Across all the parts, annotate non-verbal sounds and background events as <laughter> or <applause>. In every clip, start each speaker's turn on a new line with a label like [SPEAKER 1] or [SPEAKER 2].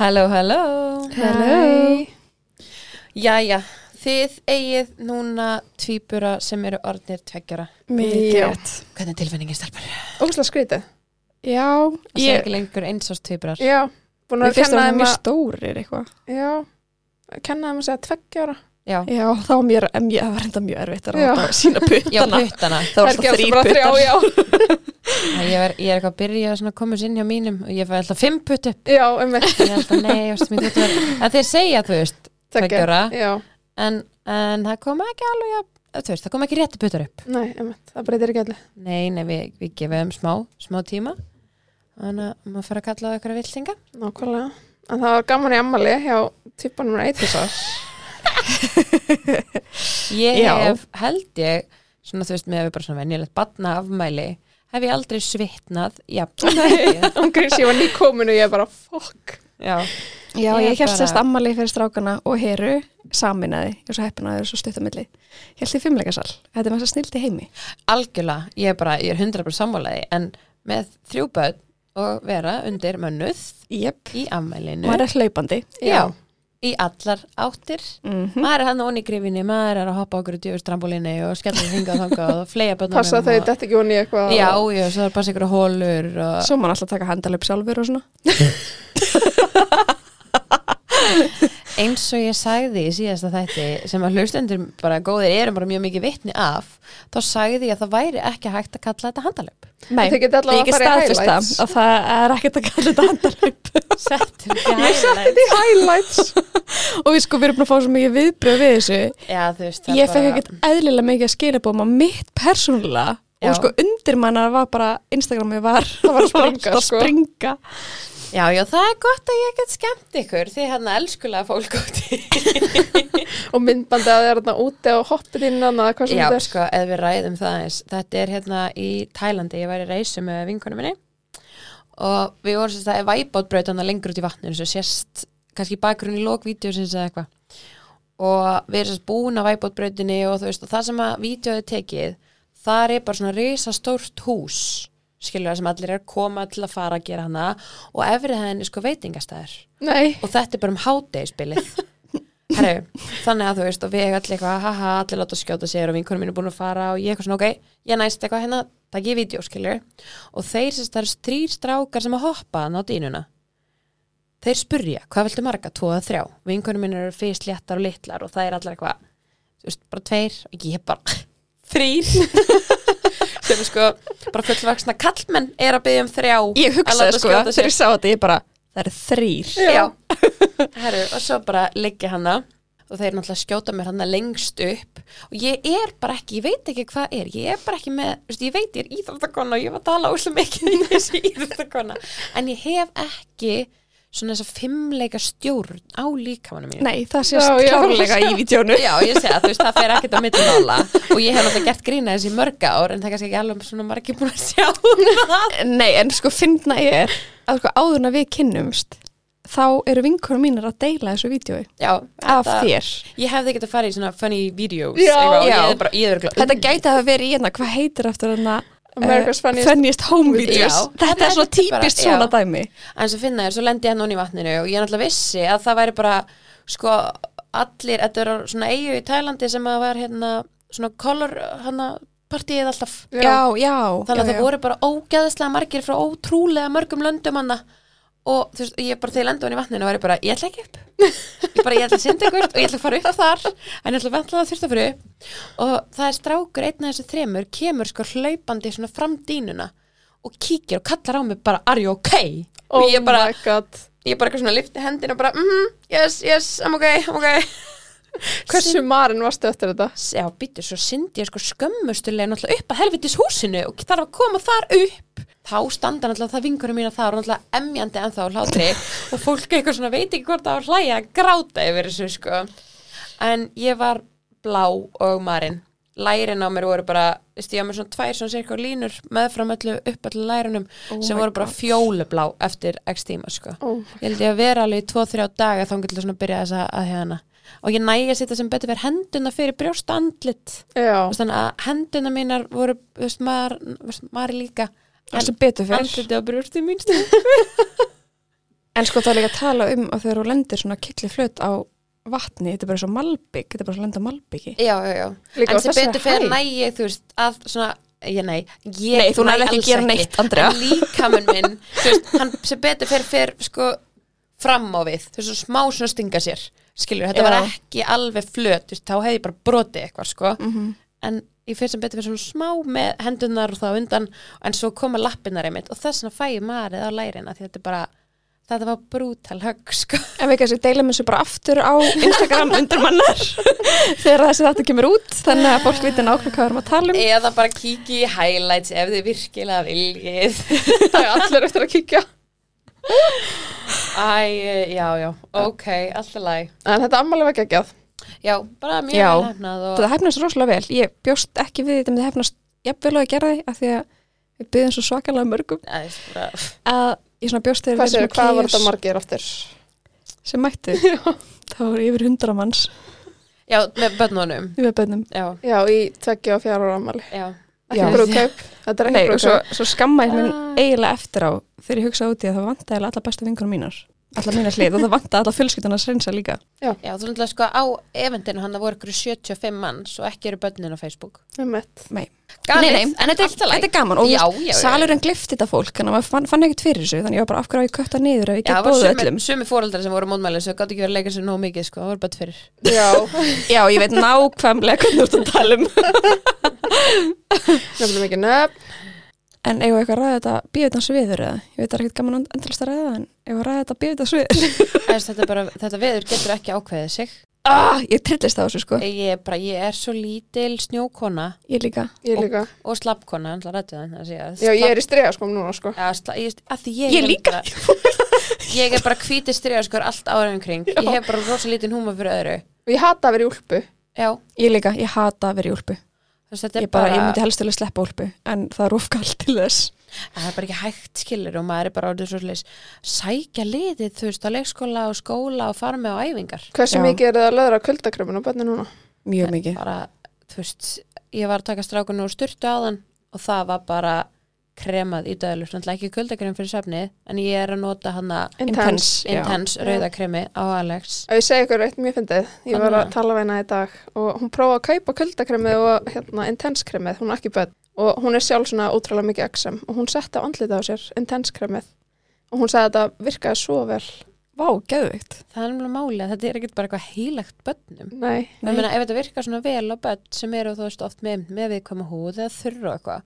[SPEAKER 1] Hello, hello
[SPEAKER 2] Hello.
[SPEAKER 1] Jæja, þið eigið núna tvíbura sem eru orðnir tveggjara
[SPEAKER 2] Mikið
[SPEAKER 3] Já.
[SPEAKER 2] rétt.
[SPEAKER 1] Hvernig er tilfinningin stelpar?
[SPEAKER 3] Ósla skrítið. Já,
[SPEAKER 1] Það sé ekki lengur eins ást tvíburar
[SPEAKER 3] já, búin
[SPEAKER 2] Mér
[SPEAKER 3] að
[SPEAKER 2] finnst
[SPEAKER 3] kenna
[SPEAKER 2] það
[SPEAKER 3] þeim
[SPEAKER 2] mjög
[SPEAKER 3] að,
[SPEAKER 2] stórir eitthvað.
[SPEAKER 3] já, kenna þeim að segja tveggjara.
[SPEAKER 1] Já,
[SPEAKER 2] Já, þá var mér, em, ég það var enda mjög erfitt að
[SPEAKER 3] Já.
[SPEAKER 2] ráta sína
[SPEAKER 1] já
[SPEAKER 2] puttana.
[SPEAKER 1] puttana
[SPEAKER 2] Það var alltaf þrýr puttar.
[SPEAKER 3] já.
[SPEAKER 1] Æ, Ég er, ég er eitthvað að byrja svona að koma sér inn hjá mínum og ég fæ alltaf fimm putt upp
[SPEAKER 3] Já, um <laughs> veit,
[SPEAKER 1] Ég held að nei, veist, mér þetta var að þeir segja þú veist Tveggja ára.
[SPEAKER 3] Já,
[SPEAKER 1] en, en það kom ekki alveg að þú veist, það kom ekki rétti puttar upp
[SPEAKER 3] nei, um það breytir ekki allir.
[SPEAKER 1] Nei, nei, við, við gefum smá, smá tíma Þannig að maður fara að kalla á ykkur að viltinga
[SPEAKER 3] Nákvæmlega. En það var gaman í ammali hjá típanum reytisar. <laughs>
[SPEAKER 1] Ég
[SPEAKER 2] Já.
[SPEAKER 1] hef, held ég, svona þú veist, með að við bara svona venjulegt batna afmæli, hef ég aldrei svitnað, já,
[SPEAKER 3] <laughs> Ángrís, ég var nýkomin og ég bara, fuck.
[SPEAKER 1] já,
[SPEAKER 2] <laughs> Já,
[SPEAKER 1] Ég
[SPEAKER 2] ég held
[SPEAKER 1] bara-
[SPEAKER 2] sérst ammali fyrir strákana og heru saminaði. Ég er svo heppin að það eru svo stuttamilli. Ég held í fimmleikasal. Þetta er með þess að snildi heimi.
[SPEAKER 1] algjörlega, ég er bara, ég er hundra bara sammálaði, en með þrjú börn og vera undir mönnuð
[SPEAKER 2] Jep.
[SPEAKER 1] í afmælinu,
[SPEAKER 2] Maður er hlaupandi.
[SPEAKER 1] já, í allar áttir,
[SPEAKER 2] Mm
[SPEAKER 1] maður er hann ón í grifinni, maður er að hoppa okkur í djöfustrambolinni og skella þig hingað og þangað og fleja börnum
[SPEAKER 3] Passa að þau dett ekki hún í eitthvað.
[SPEAKER 1] Já, já, svo er bara sikur hólur og
[SPEAKER 2] Svo mann alltaf taka handalöp sjálfur og svona.
[SPEAKER 1] eins og ég sagði í síðasta þætti sem að hlustendur bara góðir erum bara mjög mikið vitni af þá sagði ég að það væri ekki hægt að kalla þetta handalöp
[SPEAKER 2] Nei,
[SPEAKER 3] Þau geta allavega
[SPEAKER 2] ég get
[SPEAKER 3] að fara í
[SPEAKER 2] staðfest það
[SPEAKER 3] highlights.
[SPEAKER 2] að það er ekkert að kalla þetta handalöp. <laughs>
[SPEAKER 1] <laughs> Settum
[SPEAKER 3] Ég setti þetta í highlights.
[SPEAKER 2] og við sko, við erum búin að fá svo mikið viðbröð við þessu.
[SPEAKER 1] Já, þú veist það
[SPEAKER 2] Ég fekk
[SPEAKER 1] bara-
[SPEAKER 2] ekkert eðlilega mikið að skilja búin að mitt persónulega
[SPEAKER 1] Já.
[SPEAKER 2] og sko undirmannar var bara, Instagrami <laughs> var,
[SPEAKER 3] var að springa,
[SPEAKER 2] alltaf að
[SPEAKER 3] sko.
[SPEAKER 2] springa.
[SPEAKER 1] Já, já, það er gott að ég get skemmt ykkur því hérna elskulega fólk úti
[SPEAKER 3] Og myndbandið að þau er þarna úti og hoppið inn annað, hvað sem
[SPEAKER 1] Já,
[SPEAKER 3] þetta er.
[SPEAKER 1] sko, eða við ræðum það eins þetta er hérna í Tælandi, ég var í reysu með vinkunum minni og við vorum sem það er væbátbraut hann lengur út í vatninu sem sést kannski bakgrunn í lókvídeosins eða eitthvað og við erum sérst búin að væbótbrautinni og þú veist, og það sem að vídeoði tekið, þar er bara svona risastórt hús, skilur það sem allir er að koma til að fara að gera hana og efrið henni sko veitingastæður
[SPEAKER 3] Nei.
[SPEAKER 1] og þetta er bara um hádegisbilið Herru, þannig að þú veist og við allir eitthvað, haha, allir láta skjóta sér og vinkunum mín er búin að fara og ég eitthvað svona, ok, ég næst eitthvað hérna, takk ég vídeo, skilur og þeir sem það eru þrýr strákar sem að hoppa hann á dýnuna þeir spurja, hvað viltu marga, tvo að þrjá vinkunum mín eru fyrst léttar og litlar og það er allir eitthvað, þú veist, bara tveir og ég bara, <laughs> þrýr sem er sko, bara fullvaksna kallmenn er að byggja um þrjá
[SPEAKER 2] Ég
[SPEAKER 1] að láta
[SPEAKER 2] hugsaði sko,
[SPEAKER 1] skjóta sér.
[SPEAKER 2] þegar ég sá þetta, ég bara, það eru þrýr.
[SPEAKER 1] Já, <laughs> herru, og svo bara liggja hana og þeir náttúrulega skjóta mér hana lengst upp og ég er bara ekki, ég veit ekki hvað er ég er bara ekki með, þú veist, ég veit ég er íþróttakona og ég var að tala úslega mikið í
[SPEAKER 2] <laughs>
[SPEAKER 1] þessi íþróttakona, en ég hef ekki svona þessa fimmleika stjórn á líkamanum mínu
[SPEAKER 2] Nei, það sést
[SPEAKER 3] Já, já,
[SPEAKER 2] klárlega
[SPEAKER 3] já.
[SPEAKER 2] í vídjónu.
[SPEAKER 1] Já, ég segi að þú veist, það fer ekkert á milli nála og ég hef náttúrulega gert grína þessi mörg ár en það er kannski ekki alveg svona margir búin að sjá það
[SPEAKER 2] Nei, en sko fyndna er að sko áðurna við kynnumst þá eru vinkunum mínar að deila þessu vídjói
[SPEAKER 1] Já,
[SPEAKER 2] af
[SPEAKER 1] þetta-
[SPEAKER 2] þér.
[SPEAKER 1] Ég hefði getað farið í svona funny videos
[SPEAKER 3] Já,
[SPEAKER 1] eitthvað, og
[SPEAKER 2] já.
[SPEAKER 1] Ég er bara, ég er glöð
[SPEAKER 2] Þetta gæti að vera í hérna, hvað heitir aftur hérna?
[SPEAKER 3] eh, America's Funniest-
[SPEAKER 2] funniest Home Videos.
[SPEAKER 1] Já.
[SPEAKER 2] Þetta er
[SPEAKER 1] Þetta er
[SPEAKER 2] svo
[SPEAKER 1] bara-
[SPEAKER 2] típist
[SPEAKER 1] já.
[SPEAKER 2] svona dæmi.
[SPEAKER 1] en svo finna þér, svo lendi ég hann onni í vatninu og ég náttúrulega vissi að það væri bara sko allir, þetta er svona eigu í Tælandi sem að var hérna svona color hana partíið alltaf
[SPEAKER 3] Já.
[SPEAKER 2] Já, já.
[SPEAKER 1] þannig að
[SPEAKER 2] já,
[SPEAKER 1] það voru bara ógæðislega margir frá ótrúlega mörgum löndum hana og þú veist, ég bara þegar ég lendi hann í vatninu var ég bara, ég ætla ekki upp ég bara, ég ætla að synda ykkur og ég ætla að fara upp þar en ég ætla að vantla það þurft að fara upp og það er strákur einn af þessu þremur kemur sko hlaupandi svona fram dýnuna og kíkir og kallar á mig bara, are you okay?
[SPEAKER 3] Oh
[SPEAKER 1] og ég bara,
[SPEAKER 3] my god.
[SPEAKER 1] ég bara eitthvað svona lifti hendina og bara, mhm, yes, yes, I'm okay, I'm okay
[SPEAKER 3] Hversu marinn varstu eftir þetta?
[SPEAKER 1] Já, býttu, svo syndi ég sko skömmustulega náttúrulega upp að helvitis húsinu og þarf að koma þar upp þá standa náttúrulega það vingurum mína þar og náttúrulega emjandi ennþá úr hlátri og fólk eitthvað svona veit ekki hvort það var hlæja að gráta yfir þessu sko en ég var blá og marinn lærin á mér voru bara, veist ég á mér svona tvær svona sirka línur meðfram öllu upp öllu lærunum
[SPEAKER 2] Oh
[SPEAKER 1] sem
[SPEAKER 2] my
[SPEAKER 1] voru bara
[SPEAKER 2] God.
[SPEAKER 1] fjólublá eftir x tíma sko
[SPEAKER 3] Oh.
[SPEAKER 1] ég held ég að vera alveg í 2-3 daga þá getur svona að byrja þess að, að hérna og ég nægja sitt sem betur fyrir henduna fyrir brjóst og andlit Þú
[SPEAKER 3] Já.
[SPEAKER 1] veist, þannig að henduna mínar voru þú veist, maður, þú veist, maður er líka
[SPEAKER 2] Alltaf betur
[SPEAKER 1] sko.
[SPEAKER 2] fyrr.
[SPEAKER 1] andliti og brjósti mín stund
[SPEAKER 2] En En sko það er líka að tala um að þegar þú lendir svona killi flöt á vatni, þetta er bara svo malbygg, þetta er bara svo að lenda á malbyggi.
[SPEAKER 1] já, já, já
[SPEAKER 3] Líka
[SPEAKER 1] en
[SPEAKER 3] á
[SPEAKER 1] sem
[SPEAKER 3] þessari
[SPEAKER 1] betur fyrir
[SPEAKER 3] hæð.
[SPEAKER 1] næ ég þú veist að svona, ég næ ég
[SPEAKER 2] Nei, þú nærð ekki að
[SPEAKER 1] alls
[SPEAKER 2] gera neitt, Andrea.
[SPEAKER 1] en líkamun minn, þú veist, hann sem betur fyrir fyrir sko fram á við þú veist, svo smá svona stinga sér skilur, þetta
[SPEAKER 2] Já.
[SPEAKER 1] var ekki alveg flöt þú veist, þá hefði ég bara brotið eitthvað sko
[SPEAKER 2] Mhm.
[SPEAKER 1] en ég fyrir sem betur fyrir svona smá með hendunar og þá undan en svo koma lappinnar einmitt og þess vegna fæ ég marið á lærina því þetta er bara þetta var brútal högg sko
[SPEAKER 2] En við kannski deilum þessu bara aftur á <laughs> Instagram undir mannar þegar þessi þáttu kemur út, þannig að fólk viti nákvæmlega hvað við erum að tala um.
[SPEAKER 1] eða bara kíki í highlights ef þið virkilega viljið
[SPEAKER 3] Það er <laughs> allir eftir að kíkja.
[SPEAKER 1] Æ, eh, já, já, ok, alltaf læg
[SPEAKER 3] En þetta ammali var geggjað.
[SPEAKER 1] Já, bara mjög
[SPEAKER 2] Já.
[SPEAKER 1] vel hefnað og
[SPEAKER 2] Þetta hefnast rosalega vel. Ég bjóst ekki við þetta með hefnast jafnvel og að gera því að því að við byggðum svo svakalega mörgum
[SPEAKER 1] Æ, þú veist, bara-
[SPEAKER 2] að ég svona bjóst þegar
[SPEAKER 3] Hvað séu, hvað var þetta
[SPEAKER 2] marg
[SPEAKER 3] margir aftur?
[SPEAKER 2] sem mættu. Það voru yfir hundra manns
[SPEAKER 1] Já, með bönnunum
[SPEAKER 2] við bönnum.
[SPEAKER 1] Já,
[SPEAKER 3] Já, í tveggja og fjara ára ammali.
[SPEAKER 1] já,
[SPEAKER 2] Já.
[SPEAKER 3] Ekki brúðkaup. Þetta er
[SPEAKER 2] Nei,
[SPEAKER 3] ekki
[SPEAKER 2] og svo,
[SPEAKER 3] brúðkaup.
[SPEAKER 2] svo skamma ég minn
[SPEAKER 1] Ah.
[SPEAKER 2] eiginlega eftir á þegar ég hugsaði út í að það vantaði allar bestu vinkunum mínar allar mínar hlið og það vantaði allar fjölskyldan að srensa líka
[SPEAKER 1] já, þú veist sko á eventinu hann það voru ykkur 75 manns og ekki eru bönnin á Facebook
[SPEAKER 3] Einmitt.
[SPEAKER 2] Nei,
[SPEAKER 1] Galið,
[SPEAKER 2] nei, en þetta, er-
[SPEAKER 1] allt í lagi.
[SPEAKER 2] þetta er gaman og
[SPEAKER 1] Já,
[SPEAKER 2] þú
[SPEAKER 1] já,
[SPEAKER 2] veist,
[SPEAKER 1] já.
[SPEAKER 2] salurinn glifti þetta fólk þannig að maður fann, fann ekkert fyrir þessu þannig ég var bara af hverju á ég kötta niður ef ég
[SPEAKER 1] Já, það
[SPEAKER 2] get
[SPEAKER 1] var
[SPEAKER 2] bóðið
[SPEAKER 1] sumi,
[SPEAKER 2] öllum
[SPEAKER 1] sumi fóreldrar sem voru mótmælið sem gátt ekki verið að leika sér nóg mikið sko, það voru bönn fyrir
[SPEAKER 3] Já,
[SPEAKER 2] Já, ég veit nákvæmlega hvernig þú ert að tala um
[SPEAKER 3] nefnum ekki nefn.
[SPEAKER 2] En eigum við eitthvað að ræða þetta bíðutans viður eða? Ég veit það er ekkert gaman að endalast að ræða en eigum við að ræða þetta bíðutans viður
[SPEAKER 1] Þess, þetta, er bara, þetta veður getur ekki ákveðið sig
[SPEAKER 2] ah, Ég trillist á þessu sko
[SPEAKER 1] ég, er bara, ég er svo lítil snjókona
[SPEAKER 2] Ég líka
[SPEAKER 3] Ég líka.
[SPEAKER 1] og slappkona, alltaf rættu það þannig að segja,
[SPEAKER 3] Já, ég er í stregaskóm núna, sko.
[SPEAKER 1] Já, sla, ég, að því ég,
[SPEAKER 2] Ég líka.
[SPEAKER 1] er bara- Ég er bara hvítið strjáskar allt ára um kring Ég hef bara rosa lítinn húma fyrir öðru
[SPEAKER 3] Og ég hata að vera í úlpu.
[SPEAKER 1] Já,
[SPEAKER 2] <laughs> Ég líka, ég hata að vera í úlpu
[SPEAKER 1] þess að þetta er
[SPEAKER 2] Ég, bara,
[SPEAKER 1] bara,
[SPEAKER 2] ég myndi helst alveg sleppa úlpu en það er ofkall til þess
[SPEAKER 1] Það er bara ekki hægt skilur og maður er bara orðið svo slis Sækja liðið, þú veist, á leikskóla og skóla og fara með á æfingar
[SPEAKER 3] Hversu
[SPEAKER 2] Já.
[SPEAKER 3] mikið er það að löðra kuldakrömmun á bönni núna?
[SPEAKER 2] mjög mikið
[SPEAKER 1] Bara, þú veist, ég var að taka strákun og styrtu áðan og það var bara kremað í döðlur, náttúrulega ekki kuldakrem fyrir svefnið, en ég er að nota hana
[SPEAKER 2] Intense, já.
[SPEAKER 1] intense rauðakremi á Alex
[SPEAKER 3] Ef ég segi ykkur eitt mjög fyndið, ég var að
[SPEAKER 1] Þannig.
[SPEAKER 3] tala við hana í dag og hún prófaði að kaupa kuldakremið og hérna, intense-kremið, hún er ekki bönn og hún er sjálf svona ótrúlega mikið exem og hún setti á andlita á sér intense-kremið og hún sagði að þetta virkaði svo vel.
[SPEAKER 2] Vá, geðvikt
[SPEAKER 1] Það er náttúrulega máli að þetta er ekkert bara eitthvað heilagt bönnum
[SPEAKER 3] Nei,
[SPEAKER 1] Ég meina, ef þetta virkar svona vel á börn sem eru þú veist oft með, með viðkvæma húð eða þurru eitthvað,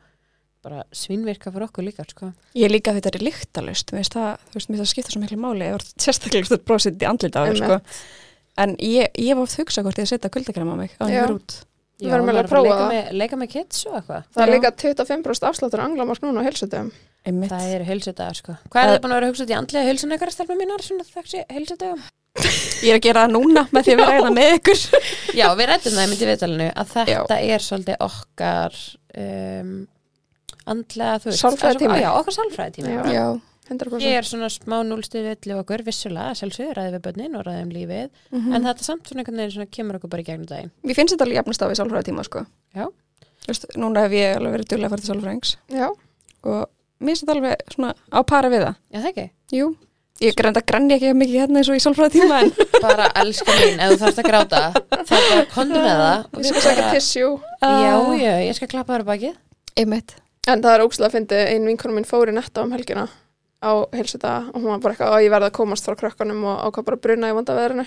[SPEAKER 1] bara svinvirka fyrir okkur líka, sko.
[SPEAKER 2] Ég líka þetta er lyktalust, mér finnst það, þú veist, mér finnst það skipta svo miklu máli, ég var sérstaklega stöld brosið í andlita á þér, sko.
[SPEAKER 3] Einmitt.
[SPEAKER 2] En ég, ég var oft hugsa hvort ég að setja kuldakrema á mig, á
[SPEAKER 3] Já.
[SPEAKER 2] mér út.
[SPEAKER 3] Við verðum
[SPEAKER 1] maður
[SPEAKER 3] eiginlega að
[SPEAKER 1] er bara
[SPEAKER 3] prófa
[SPEAKER 1] leika
[SPEAKER 3] það.
[SPEAKER 1] með, leika með kids og eitthvað.
[SPEAKER 3] það
[SPEAKER 2] Já.
[SPEAKER 3] er líka 25% afsláttur á anglamark núna á helsutum.
[SPEAKER 2] Einmitt.
[SPEAKER 1] Það eru heilsutagar, sko. Hvað er
[SPEAKER 2] Það-
[SPEAKER 1] það búin að vera hugsað í andlega heilsun eitthvað stelpa mínar, svona þessi heilsutagum?
[SPEAKER 2] Ég er að gera það núna með því að vera eða með ykkur.
[SPEAKER 1] Já, við rættum það í myndi viðtalinu að þetta
[SPEAKER 2] Já.
[SPEAKER 1] er svolítið okkar um, andlega, þú veist.
[SPEAKER 3] Sálfræðitími.
[SPEAKER 1] Já, okkar sálfræðitími.
[SPEAKER 3] Já.
[SPEAKER 2] <laughs> Já,
[SPEAKER 3] 100%.
[SPEAKER 1] Ég er svona smá núlstuð öllu okkur, vissulega, sjálfsögur, ræðið við börnin og ræðið um lífið, en þetta samt svona einhvern veginn svona kemur okkur bara í gegnum daginn.
[SPEAKER 2] mér finnst þetta alveg jafnast á við sálfræða tíma, sko.
[SPEAKER 1] Já.
[SPEAKER 2] Þú veist, núna hef ég alveg verið duglega að fara til sálfræðings
[SPEAKER 3] Já,
[SPEAKER 2] og mér finnst þetta alveg svona á para við það.
[SPEAKER 1] Já, það ekki?
[SPEAKER 2] Jú, ég grænda granni ekki jafn mikið hérna eins og í sálfræða en
[SPEAKER 1] bara elska mín, ef þú þarfst að gráta þá bara kondu með það og
[SPEAKER 3] ég
[SPEAKER 1] við
[SPEAKER 3] skal
[SPEAKER 1] bara-
[SPEAKER 3] segja tissjú.
[SPEAKER 1] Já, já, ég skal klappa þér á bakið
[SPEAKER 2] einmitt.
[SPEAKER 3] En það er ógslag að fyndi, ein vinkunum mín fóri netto um helgina á heilsuta og hún var bara eitthvað að ég verði að komast frá krökkunum og ákvað bara að bruna í vandaveðrinu.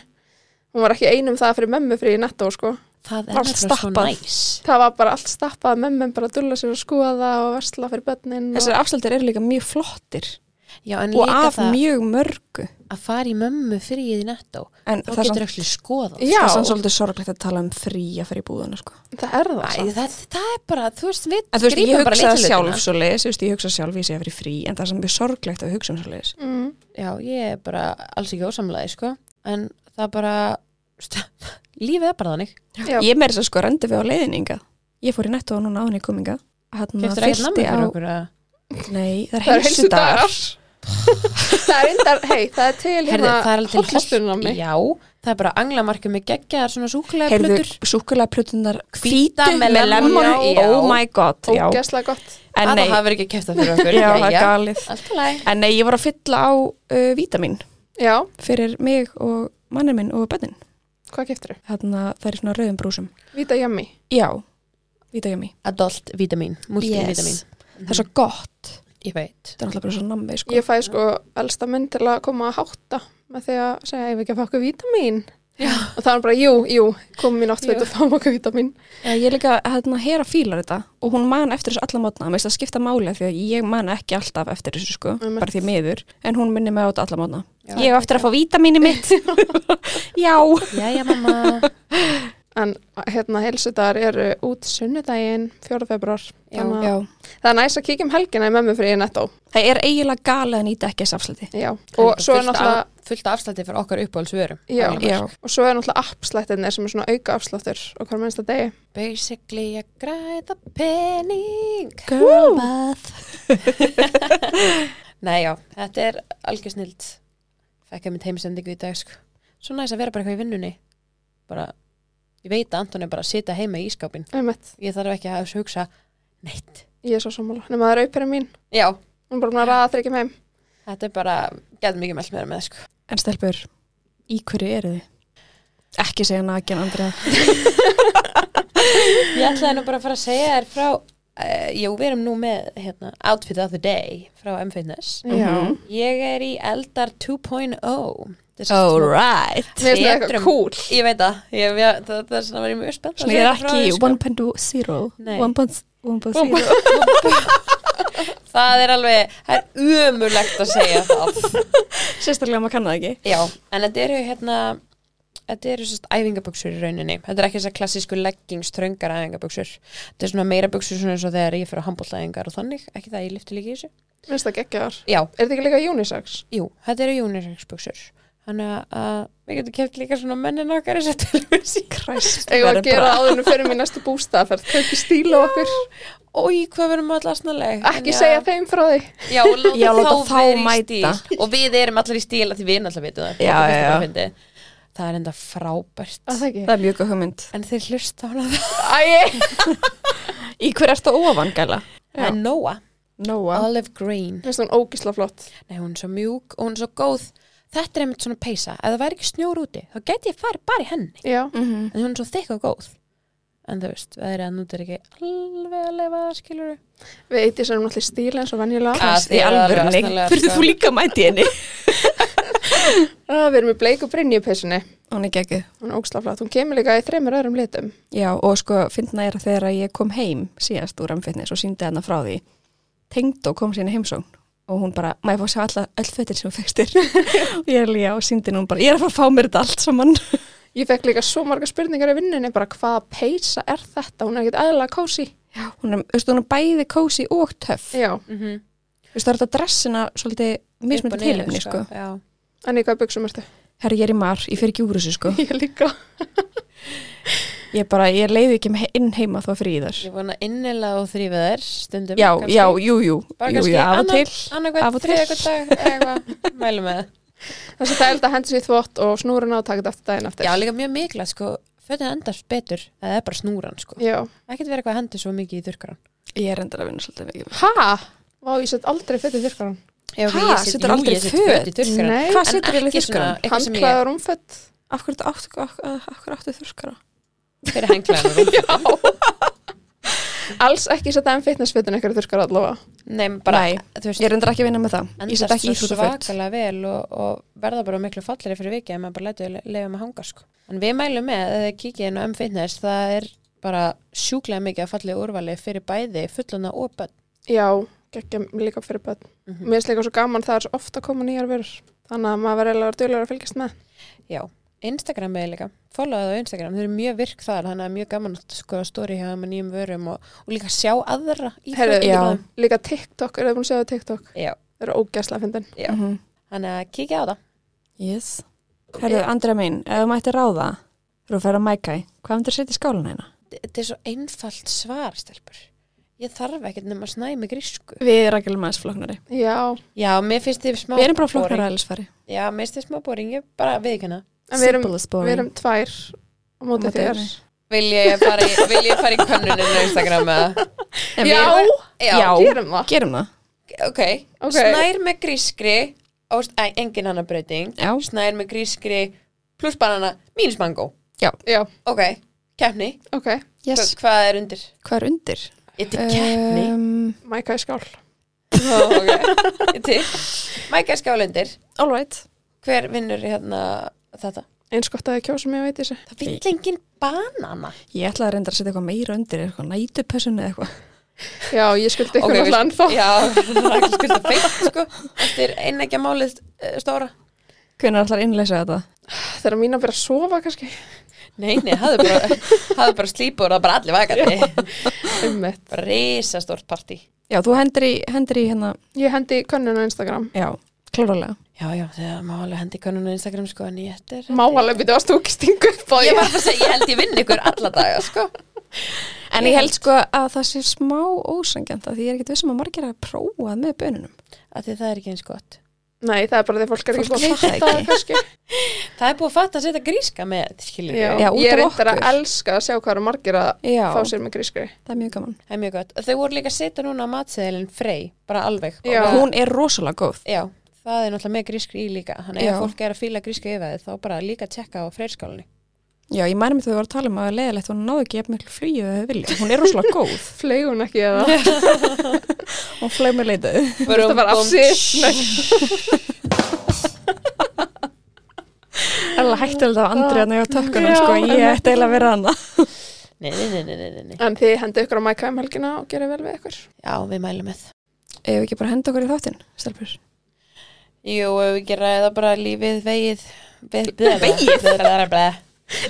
[SPEAKER 3] Hún var ekki einum það fyrir memmu fyrir í netto sko.
[SPEAKER 1] Það er
[SPEAKER 2] Allt
[SPEAKER 1] nefnilega svo
[SPEAKER 2] stappað.
[SPEAKER 1] næs
[SPEAKER 3] Það var bara allt stappað, memmen bara að dulla sér og skoða og versla fyrir börnin. Og...
[SPEAKER 2] Þessar afslættir eru líka mjög flottir
[SPEAKER 1] Já, en
[SPEAKER 2] og
[SPEAKER 1] líka
[SPEAKER 2] af
[SPEAKER 1] það
[SPEAKER 2] mjög mörgu.
[SPEAKER 1] að fara í mömmu fríið í nettó
[SPEAKER 2] En
[SPEAKER 1] þá
[SPEAKER 2] það er
[SPEAKER 1] getur
[SPEAKER 2] samt-
[SPEAKER 1] ekki skoðað
[SPEAKER 3] Já,
[SPEAKER 2] það er samt svolítið sorglegt að tala um frí að fara í búðuna sko.
[SPEAKER 3] það er það.
[SPEAKER 1] Æ, það, það er bara, þú veist, við
[SPEAKER 2] En þú veist, ég
[SPEAKER 1] grípum bara
[SPEAKER 2] hugsa það
[SPEAKER 1] litlu hlutina.
[SPEAKER 2] sjálf svo leiðis, þú veist, ég hugsa sjálf í sig að fara í frí en það er samt mjög sorglegt að hugsa um svo leiðis.
[SPEAKER 3] Mm.
[SPEAKER 1] Já, ég er bara alls ekki ósamlega, sko en það bara <laughs> lífið er bara þannig
[SPEAKER 3] Já.
[SPEAKER 2] Ég meiri þess að sko rendi við á leiðninga. Ég fór í netto og núna á henni kominga. Hérna
[SPEAKER 1] Keftur ekkert nammi
[SPEAKER 2] fyllti
[SPEAKER 1] fyrir
[SPEAKER 2] á,
[SPEAKER 1] okkur að
[SPEAKER 2] nei, það er
[SPEAKER 3] Það er
[SPEAKER 2] heilsu dagar.
[SPEAKER 3] það er indar, hei, það er til
[SPEAKER 1] Herði,
[SPEAKER 3] hérna
[SPEAKER 2] hérna
[SPEAKER 1] það er alveg til
[SPEAKER 3] hollustunum mig.
[SPEAKER 1] Já, það er bara anglamarkið með geggjaðar svona súkulega
[SPEAKER 2] Heyrðu, súkulega plötunar hvítu
[SPEAKER 1] með
[SPEAKER 2] með
[SPEAKER 1] lemon,
[SPEAKER 2] lemon.
[SPEAKER 1] já.
[SPEAKER 2] Oh my god, já.
[SPEAKER 3] Ógæslega gott.
[SPEAKER 2] En
[SPEAKER 1] að
[SPEAKER 2] nei, <laughs>
[SPEAKER 1] það hafi verið ekki kæft það fyrir okkur
[SPEAKER 2] já, það er
[SPEAKER 1] Jæja.
[SPEAKER 2] galið.
[SPEAKER 1] Allt í lagi.
[SPEAKER 2] En nei, ég var að fylla á uh, vítamin
[SPEAKER 3] Já,
[SPEAKER 2] fyrir mig og mannir minn og bönnin.
[SPEAKER 3] hvað keftir þau?
[SPEAKER 2] Þannig að það er svona rauðum brúsum.
[SPEAKER 3] Vita Yummy.
[SPEAKER 2] Já, víta ég mig.
[SPEAKER 1] Adult vitamin, multivitamin
[SPEAKER 2] Það er svo gott.
[SPEAKER 1] Ég veit
[SPEAKER 2] Það er alltaf bara svo nammi, sko.
[SPEAKER 3] Ég fæ sko elsta minn til að koma að hátta með því að segja, ég vil ekki að fá okkur vítamín.
[SPEAKER 1] Já.
[SPEAKER 3] Og það var bara, jú, jú, komum í náttföt
[SPEAKER 2] Jú.
[SPEAKER 3] og fáum okkur vítamín.
[SPEAKER 2] Eh, Ég er líka hérna hera fílar þetta og hún man eftir þessu alla mótna. Mér finnst það skipta máli af því að ég man ekki alltaf eftir þessu sko,
[SPEAKER 3] Einmitt.
[SPEAKER 2] bara því miður, en hún minni mig á þetta alla mótna.
[SPEAKER 1] Já.
[SPEAKER 2] Ég hef eftir að fá vítamini <laughs> mitt. Já.
[SPEAKER 1] Jæja mamma
[SPEAKER 3] En hérna, helsudagar eru út sunnudaginn, 4. februar.
[SPEAKER 1] Já.
[SPEAKER 3] Þannig að-
[SPEAKER 2] Já.
[SPEAKER 3] Það er næst að kíkja um helgina í mömmu fyrir nettó.
[SPEAKER 2] Það er eiginlega galið að nýta ekki þessu afsluti.
[SPEAKER 3] Já. Og svo er náttúrulega,
[SPEAKER 1] Fullt afslætti fyrir okkar uppáhaldsvörum
[SPEAKER 3] Já.
[SPEAKER 1] Alveg.
[SPEAKER 2] Já.
[SPEAKER 3] og svo er náttúrulega appslættinir sem er svona auka afsláttur og hver mennst að degi.
[SPEAKER 1] Basically að græða pening
[SPEAKER 2] Girl bath.
[SPEAKER 1] <laughs> Nei já, þetta er algjör snild Fekk ég mitt heimsendingu í dag sko. Svo næs að vera bara eitthvað í vinnunni Bara Ég veit að Anton er bara að sitja heima í ískápin
[SPEAKER 3] Einmitt.
[SPEAKER 1] Ég þarf ekki að hugsa Neitt
[SPEAKER 3] Ég er svo sammála. Nefnum að það er auperinn mín.
[SPEAKER 1] Já,
[SPEAKER 3] Hún er bara búin að ræða þryggjum heim.
[SPEAKER 1] þetta er bara Gæð mikið meld meira með sko.
[SPEAKER 2] En stelpur, í hverju eru þið? Ekki segja nakin, Andrið.
[SPEAKER 1] Ég ætlaði nú bara að fara að segja þér frá uh, Jú, við erum nú með hérna, Outfit of the Day frá M-Fitness
[SPEAKER 3] Já.
[SPEAKER 2] Mhm.
[SPEAKER 1] Ég er í Eldar oh. 2.0
[SPEAKER 2] right.
[SPEAKER 3] Mér finnst það eitthvað
[SPEAKER 1] Setrum.
[SPEAKER 3] cool.
[SPEAKER 1] Ég veit það, ég, ég, það, það er svona verið mjög spennt að
[SPEAKER 2] Svona ég
[SPEAKER 1] segja
[SPEAKER 2] er
[SPEAKER 1] frá
[SPEAKER 2] ekki
[SPEAKER 1] þessu, sko.
[SPEAKER 2] 1.0.
[SPEAKER 1] Nei.
[SPEAKER 2] 1.0.
[SPEAKER 1] Það er alveg, það er umulegt að segja það
[SPEAKER 2] <laughs> Sérstaklega maður kann það ekki.
[SPEAKER 1] Já, en þetta eru hérna Þetta eru sérst æfingaböksur í rauninni Þetta er ekki þessar klassísku leggings, þröngar æfingaböksur Þetta er svona meira buksur svona eins og þegar ég fyrir að handbóltaæfingar og þannig, ekki það að ég lyfti líka í þessu
[SPEAKER 3] Mér finnst það geggjaðar.
[SPEAKER 1] Já,
[SPEAKER 3] Er þetta ekki líka unisex?
[SPEAKER 1] Jú, þetta eru Unisex-buksur Þannig að- að við getum keft líka svona mennin okkar þess að tilvísi
[SPEAKER 2] Christ,
[SPEAKER 3] Eða að
[SPEAKER 2] verður
[SPEAKER 3] gera
[SPEAKER 2] bara-
[SPEAKER 3] það áðunum fyrir mér næstu bústaðferð. Kaupi stíl á okkur.
[SPEAKER 1] Ói, hvað verðum allar snarleg
[SPEAKER 3] Ekki segja þeim frá því.
[SPEAKER 1] Já, og láta,
[SPEAKER 2] Já, láta þá
[SPEAKER 1] vera í
[SPEAKER 2] mæta.
[SPEAKER 1] stíl. Og við erum allar í stíl að því við náttúrulega vitum það
[SPEAKER 2] Já,
[SPEAKER 1] Það finnst
[SPEAKER 2] já,
[SPEAKER 1] bara
[SPEAKER 2] já.
[SPEAKER 1] fyndið. Það er enda frábært
[SPEAKER 3] Að það ekki?
[SPEAKER 2] Það er mjög góð hugmynd.
[SPEAKER 1] En þeir hlusta á hana það
[SPEAKER 3] Æ,
[SPEAKER 2] Í hver ert það ofan, gæla?
[SPEAKER 1] Það er Noah,
[SPEAKER 2] Nóa.
[SPEAKER 1] Olive Green
[SPEAKER 3] finnst hún ógísla flott.
[SPEAKER 1] Nei, hún er svo mjúk og hún er svo góð Þetta er einmitt svona peysa Ef það væri ekki snjór úti, þá geti ég farið bara í henni
[SPEAKER 3] Já.
[SPEAKER 2] Mm -hmm.
[SPEAKER 1] En hún er svo þykk og góð En þú veist, það er að nú er ekki alveg að leifa skilur
[SPEAKER 3] Við eitir sem náttúrulega í stíl eins og venjulega.
[SPEAKER 1] Ah.
[SPEAKER 2] Kast,
[SPEAKER 1] þið
[SPEAKER 2] í
[SPEAKER 1] eru alveg
[SPEAKER 2] alvörni.
[SPEAKER 1] asnalega,
[SPEAKER 2] Fyrir
[SPEAKER 1] sko.
[SPEAKER 2] þú líka mæti henni?
[SPEAKER 3] Ah, Við erum í bleik og brinni í peysunni.
[SPEAKER 2] Hún er geggið.
[SPEAKER 3] Hún er ógísla flott. Hún kemur líka í þreymur öðrum litum.
[SPEAKER 2] Já, og sko, fyndna er að þegar ég kom heim síðast úr amfitness og síndi hennar frá því, tengd og kom síðan í heimsókn og hún bara, maður fá að sjá alla, öll fötir sem hún fækstir. <laughs> og ég er líka og síndi henni, hún bara, ég er að fara að fá mér þetta allt saman.
[SPEAKER 3] Ég fekk líka svo marga spurningar í vinnunni, bara hvað peysa er þetta? Hún er ekkert aðalega kósi.
[SPEAKER 2] Já, hún er, veistu, hún er bæði kósi og töff.
[SPEAKER 3] Já,
[SPEAKER 1] mm -hmm.
[SPEAKER 2] Veistu, það er þetta dressina svolítið mismunandi tilefni, sko.
[SPEAKER 1] Já,
[SPEAKER 3] en í hvað buksum ertu?
[SPEAKER 2] Herra, ég er í mar, ég fer ekki úr þessu, sko.
[SPEAKER 3] <laughs> Ég líka.
[SPEAKER 2] Ég bara, ég leiði ekki he- inn heima þá fyrir í þar.
[SPEAKER 1] ég vona innilega og þrýfið þær stundum
[SPEAKER 2] Já,
[SPEAKER 1] kannski.
[SPEAKER 2] já, jú, jú,
[SPEAKER 1] Bara
[SPEAKER 2] jú,
[SPEAKER 1] kannski
[SPEAKER 2] jú, af og
[SPEAKER 1] annan-
[SPEAKER 2] til. af
[SPEAKER 1] annarkvæmt
[SPEAKER 2] og til.
[SPEAKER 1] þriða hvern dag eða eitthvað, <laughs> mælum með það.
[SPEAKER 3] Þess að það er alltaf hendur sér í þvott og snúrun átakit eftir daginn eftir.
[SPEAKER 1] já, líka mjög mikla, sko, fötin endast betur að það er bara snúran, sko
[SPEAKER 3] Já.
[SPEAKER 1] ekkert vera eitthvað að hendi svo mikið í þurkaran
[SPEAKER 2] Ég er endar að vinna svolítið mikið.
[SPEAKER 3] Hæ? Vá, ég sett aldrei fyrir þurrkaran.
[SPEAKER 1] já,
[SPEAKER 2] Ha, setur aldrei föt?
[SPEAKER 1] í þurkaran
[SPEAKER 3] Nei.
[SPEAKER 2] Hvað setur ég í þurrkara?
[SPEAKER 1] eitthvað sem ég
[SPEAKER 3] Handklaður umfött.
[SPEAKER 2] Af hverju þetta áttu, af, af af hverju áttu þurrkara?
[SPEAKER 1] fyrir henglaðan
[SPEAKER 3] Alls ekki setja enn fitnessfitun ykkur þurrkara allavega.
[SPEAKER 1] <laughs> nei, bara,
[SPEAKER 2] Nei,
[SPEAKER 1] þú veist
[SPEAKER 2] Ég er endar ekki að vinna með það. Ég set
[SPEAKER 1] endast
[SPEAKER 2] ekki
[SPEAKER 1] svo
[SPEAKER 2] í þurrkaföt.
[SPEAKER 1] svakalega vel og, og verða bara miklu falleri fyrir vikið ef maður bara letur leiðum að hanga, sko en við mælum með, eða kikið inn á M-Fitness það er bara sjúklega mikið að fallið úrvali fyrir bæði fulluna og bönn
[SPEAKER 3] Já, geggja líka fyrir börn.
[SPEAKER 1] Mhm.
[SPEAKER 3] Mér finnst líka svo gaman það er svo ofta að koma nýjar verur. Þannig að maður verður eiginlega að vera dölur að fylgjast með.
[SPEAKER 1] Instagram eða líka, followaðu á Instagram þau eru mjög virk þar, þannig að mjög gaman að skoða stóri hjá þeim með nýjum vörum og, og líka sjá aðra í
[SPEAKER 3] Heyrðu,
[SPEAKER 1] fötum
[SPEAKER 2] já.
[SPEAKER 1] þeim.
[SPEAKER 3] Líka TikTok, er það búin að segja TikTok?
[SPEAKER 1] Já.
[SPEAKER 3] Það eru ógæslega að fyndin.
[SPEAKER 1] Já.
[SPEAKER 2] Mhm.
[SPEAKER 1] þannig að kíkja á það
[SPEAKER 2] Yes. Herðu, Andra mín, ef þú mætti ráða, þú fyrir að mæka í, hvað myndir setja í skálan hérna?
[SPEAKER 1] þetta er svo einfalt svar, stelpur ég þarf ekkert nema að snæmi grísku
[SPEAKER 2] Við erum ekki með flóknari.
[SPEAKER 3] Já,
[SPEAKER 1] já, mér finnst þið smá
[SPEAKER 2] Við erum bara
[SPEAKER 1] boring.
[SPEAKER 2] flóknari að elsfæri.
[SPEAKER 1] já, mér finnst þið smá boring, ég bara viðkynna
[SPEAKER 3] en við erum,
[SPEAKER 2] Simple is
[SPEAKER 3] við
[SPEAKER 2] boring.
[SPEAKER 3] erum tvær á móti
[SPEAKER 2] móti
[SPEAKER 3] þér.
[SPEAKER 2] þér.
[SPEAKER 1] vil ég fara í, vil ég fara í könnunum á Instagram eða
[SPEAKER 2] En
[SPEAKER 3] Já,
[SPEAKER 2] við-
[SPEAKER 1] já,
[SPEAKER 2] Já.
[SPEAKER 3] gerum það.
[SPEAKER 2] Gerum það.
[SPEAKER 1] ok,
[SPEAKER 3] Ok.
[SPEAKER 1] snær með grískri óst, æ, engin annar breyting
[SPEAKER 2] Já.
[SPEAKER 1] snær með grískri pluss banana mínus mango
[SPEAKER 3] Já,
[SPEAKER 1] ok, keppni,
[SPEAKER 3] ok,
[SPEAKER 2] Yes.
[SPEAKER 1] Hva- hvað er undir?
[SPEAKER 2] Hvað er undir?
[SPEAKER 1] ég til keppni
[SPEAKER 2] Um,
[SPEAKER 3] mæka í skál
[SPEAKER 1] Ó, Eh, <laughs> ok, ég til Mæka er skál undir,
[SPEAKER 2] all right. Hver?
[SPEAKER 1] vinnur hérna þetta
[SPEAKER 3] Eins gott að ég kjósa mig að veit þessi
[SPEAKER 1] það vill engin banana
[SPEAKER 2] Ég ætlaði að reynda að setja eitthvað meira undir, eitthvað nætupessun eða eitthvað.
[SPEAKER 3] Já, ég skuldi ykkur okay, allan þá
[SPEAKER 1] já, <laughs> Rakel skulda feitt sko eftir einnægja málið eh, stóra
[SPEAKER 2] Hvernig ætlar að innleysa þetta?
[SPEAKER 3] Þegar mín að byrja að sofa <gasps> kannski
[SPEAKER 1] nei, nei, hafðu bara, hafðu bara slípur og það bara allir vakandi
[SPEAKER 3] um mitt
[SPEAKER 1] risastort partí
[SPEAKER 2] Já, þú hendur í, hendur í hérna,
[SPEAKER 3] Ég hendi könnun á Instagram
[SPEAKER 2] já, klárlega.
[SPEAKER 1] já, já, það má alveg hendi konun á Instagram sko en ég þetta er
[SPEAKER 3] Má alveg byrja að stúki stingu upp á
[SPEAKER 1] ég
[SPEAKER 3] ég
[SPEAKER 1] var bara að segja, ég held ég vinn ykkur alla daga sko
[SPEAKER 2] En ég held sko að það sé smá ósangjant að því ég er ekkert vissum að margir að prófað með bönunum.
[SPEAKER 1] að því það er ekki eins gott
[SPEAKER 3] Nei, það er bara því að fólk er ekki
[SPEAKER 2] Fólk
[SPEAKER 3] búin
[SPEAKER 2] veit það
[SPEAKER 3] að fatta það
[SPEAKER 2] ekki.
[SPEAKER 3] kannski
[SPEAKER 1] það er búið að fatta að setja gríska með skilur
[SPEAKER 3] Já,
[SPEAKER 2] Já, út af
[SPEAKER 3] Ég er reyndar að
[SPEAKER 2] okkur.
[SPEAKER 3] elska að sjá hvað eru margir að
[SPEAKER 2] Já,
[SPEAKER 3] fá sér með grískri
[SPEAKER 2] það er mjög gaman.
[SPEAKER 1] það er mjög gott og þau voru líka að setja núna matseðilin frey bara alveg
[SPEAKER 3] Já.
[SPEAKER 1] Og-
[SPEAKER 2] Hún er rosalega góð.
[SPEAKER 1] já, það er náttúrulega með grískri í líka þannig að
[SPEAKER 2] Já.
[SPEAKER 1] ef fólk er að fíla gríska yfir þá bara líka tjekka á freyrskálinni
[SPEAKER 2] Já, ég mæri mig þegar þú voru að tala um að það er leðilegt hún náðu ekki jafn miklu fríu að þau vilja. Hún er rosalega góð.
[SPEAKER 3] Fleigun ekki eða
[SPEAKER 2] <laughs> Hún flaug með leitaðu.
[SPEAKER 3] <laughs> Þetta var afsýtt
[SPEAKER 2] Það er alveg hættilegt af andri að nefja tökkunum,
[SPEAKER 3] Já,
[SPEAKER 2] sko. Ég ætti eiginlega að vera hana.
[SPEAKER 1] <laughs> nei, nei, nei, nei, nei, nei.
[SPEAKER 3] En þið hendi ykkur á mæka um helgina og gerið vel við ykkur
[SPEAKER 1] já, við mælum með
[SPEAKER 2] Ef við ekki bara henda okkur í þáttinn, stelpur.
[SPEAKER 1] jú, ef við ekki ræða bara lífið, vegið vegið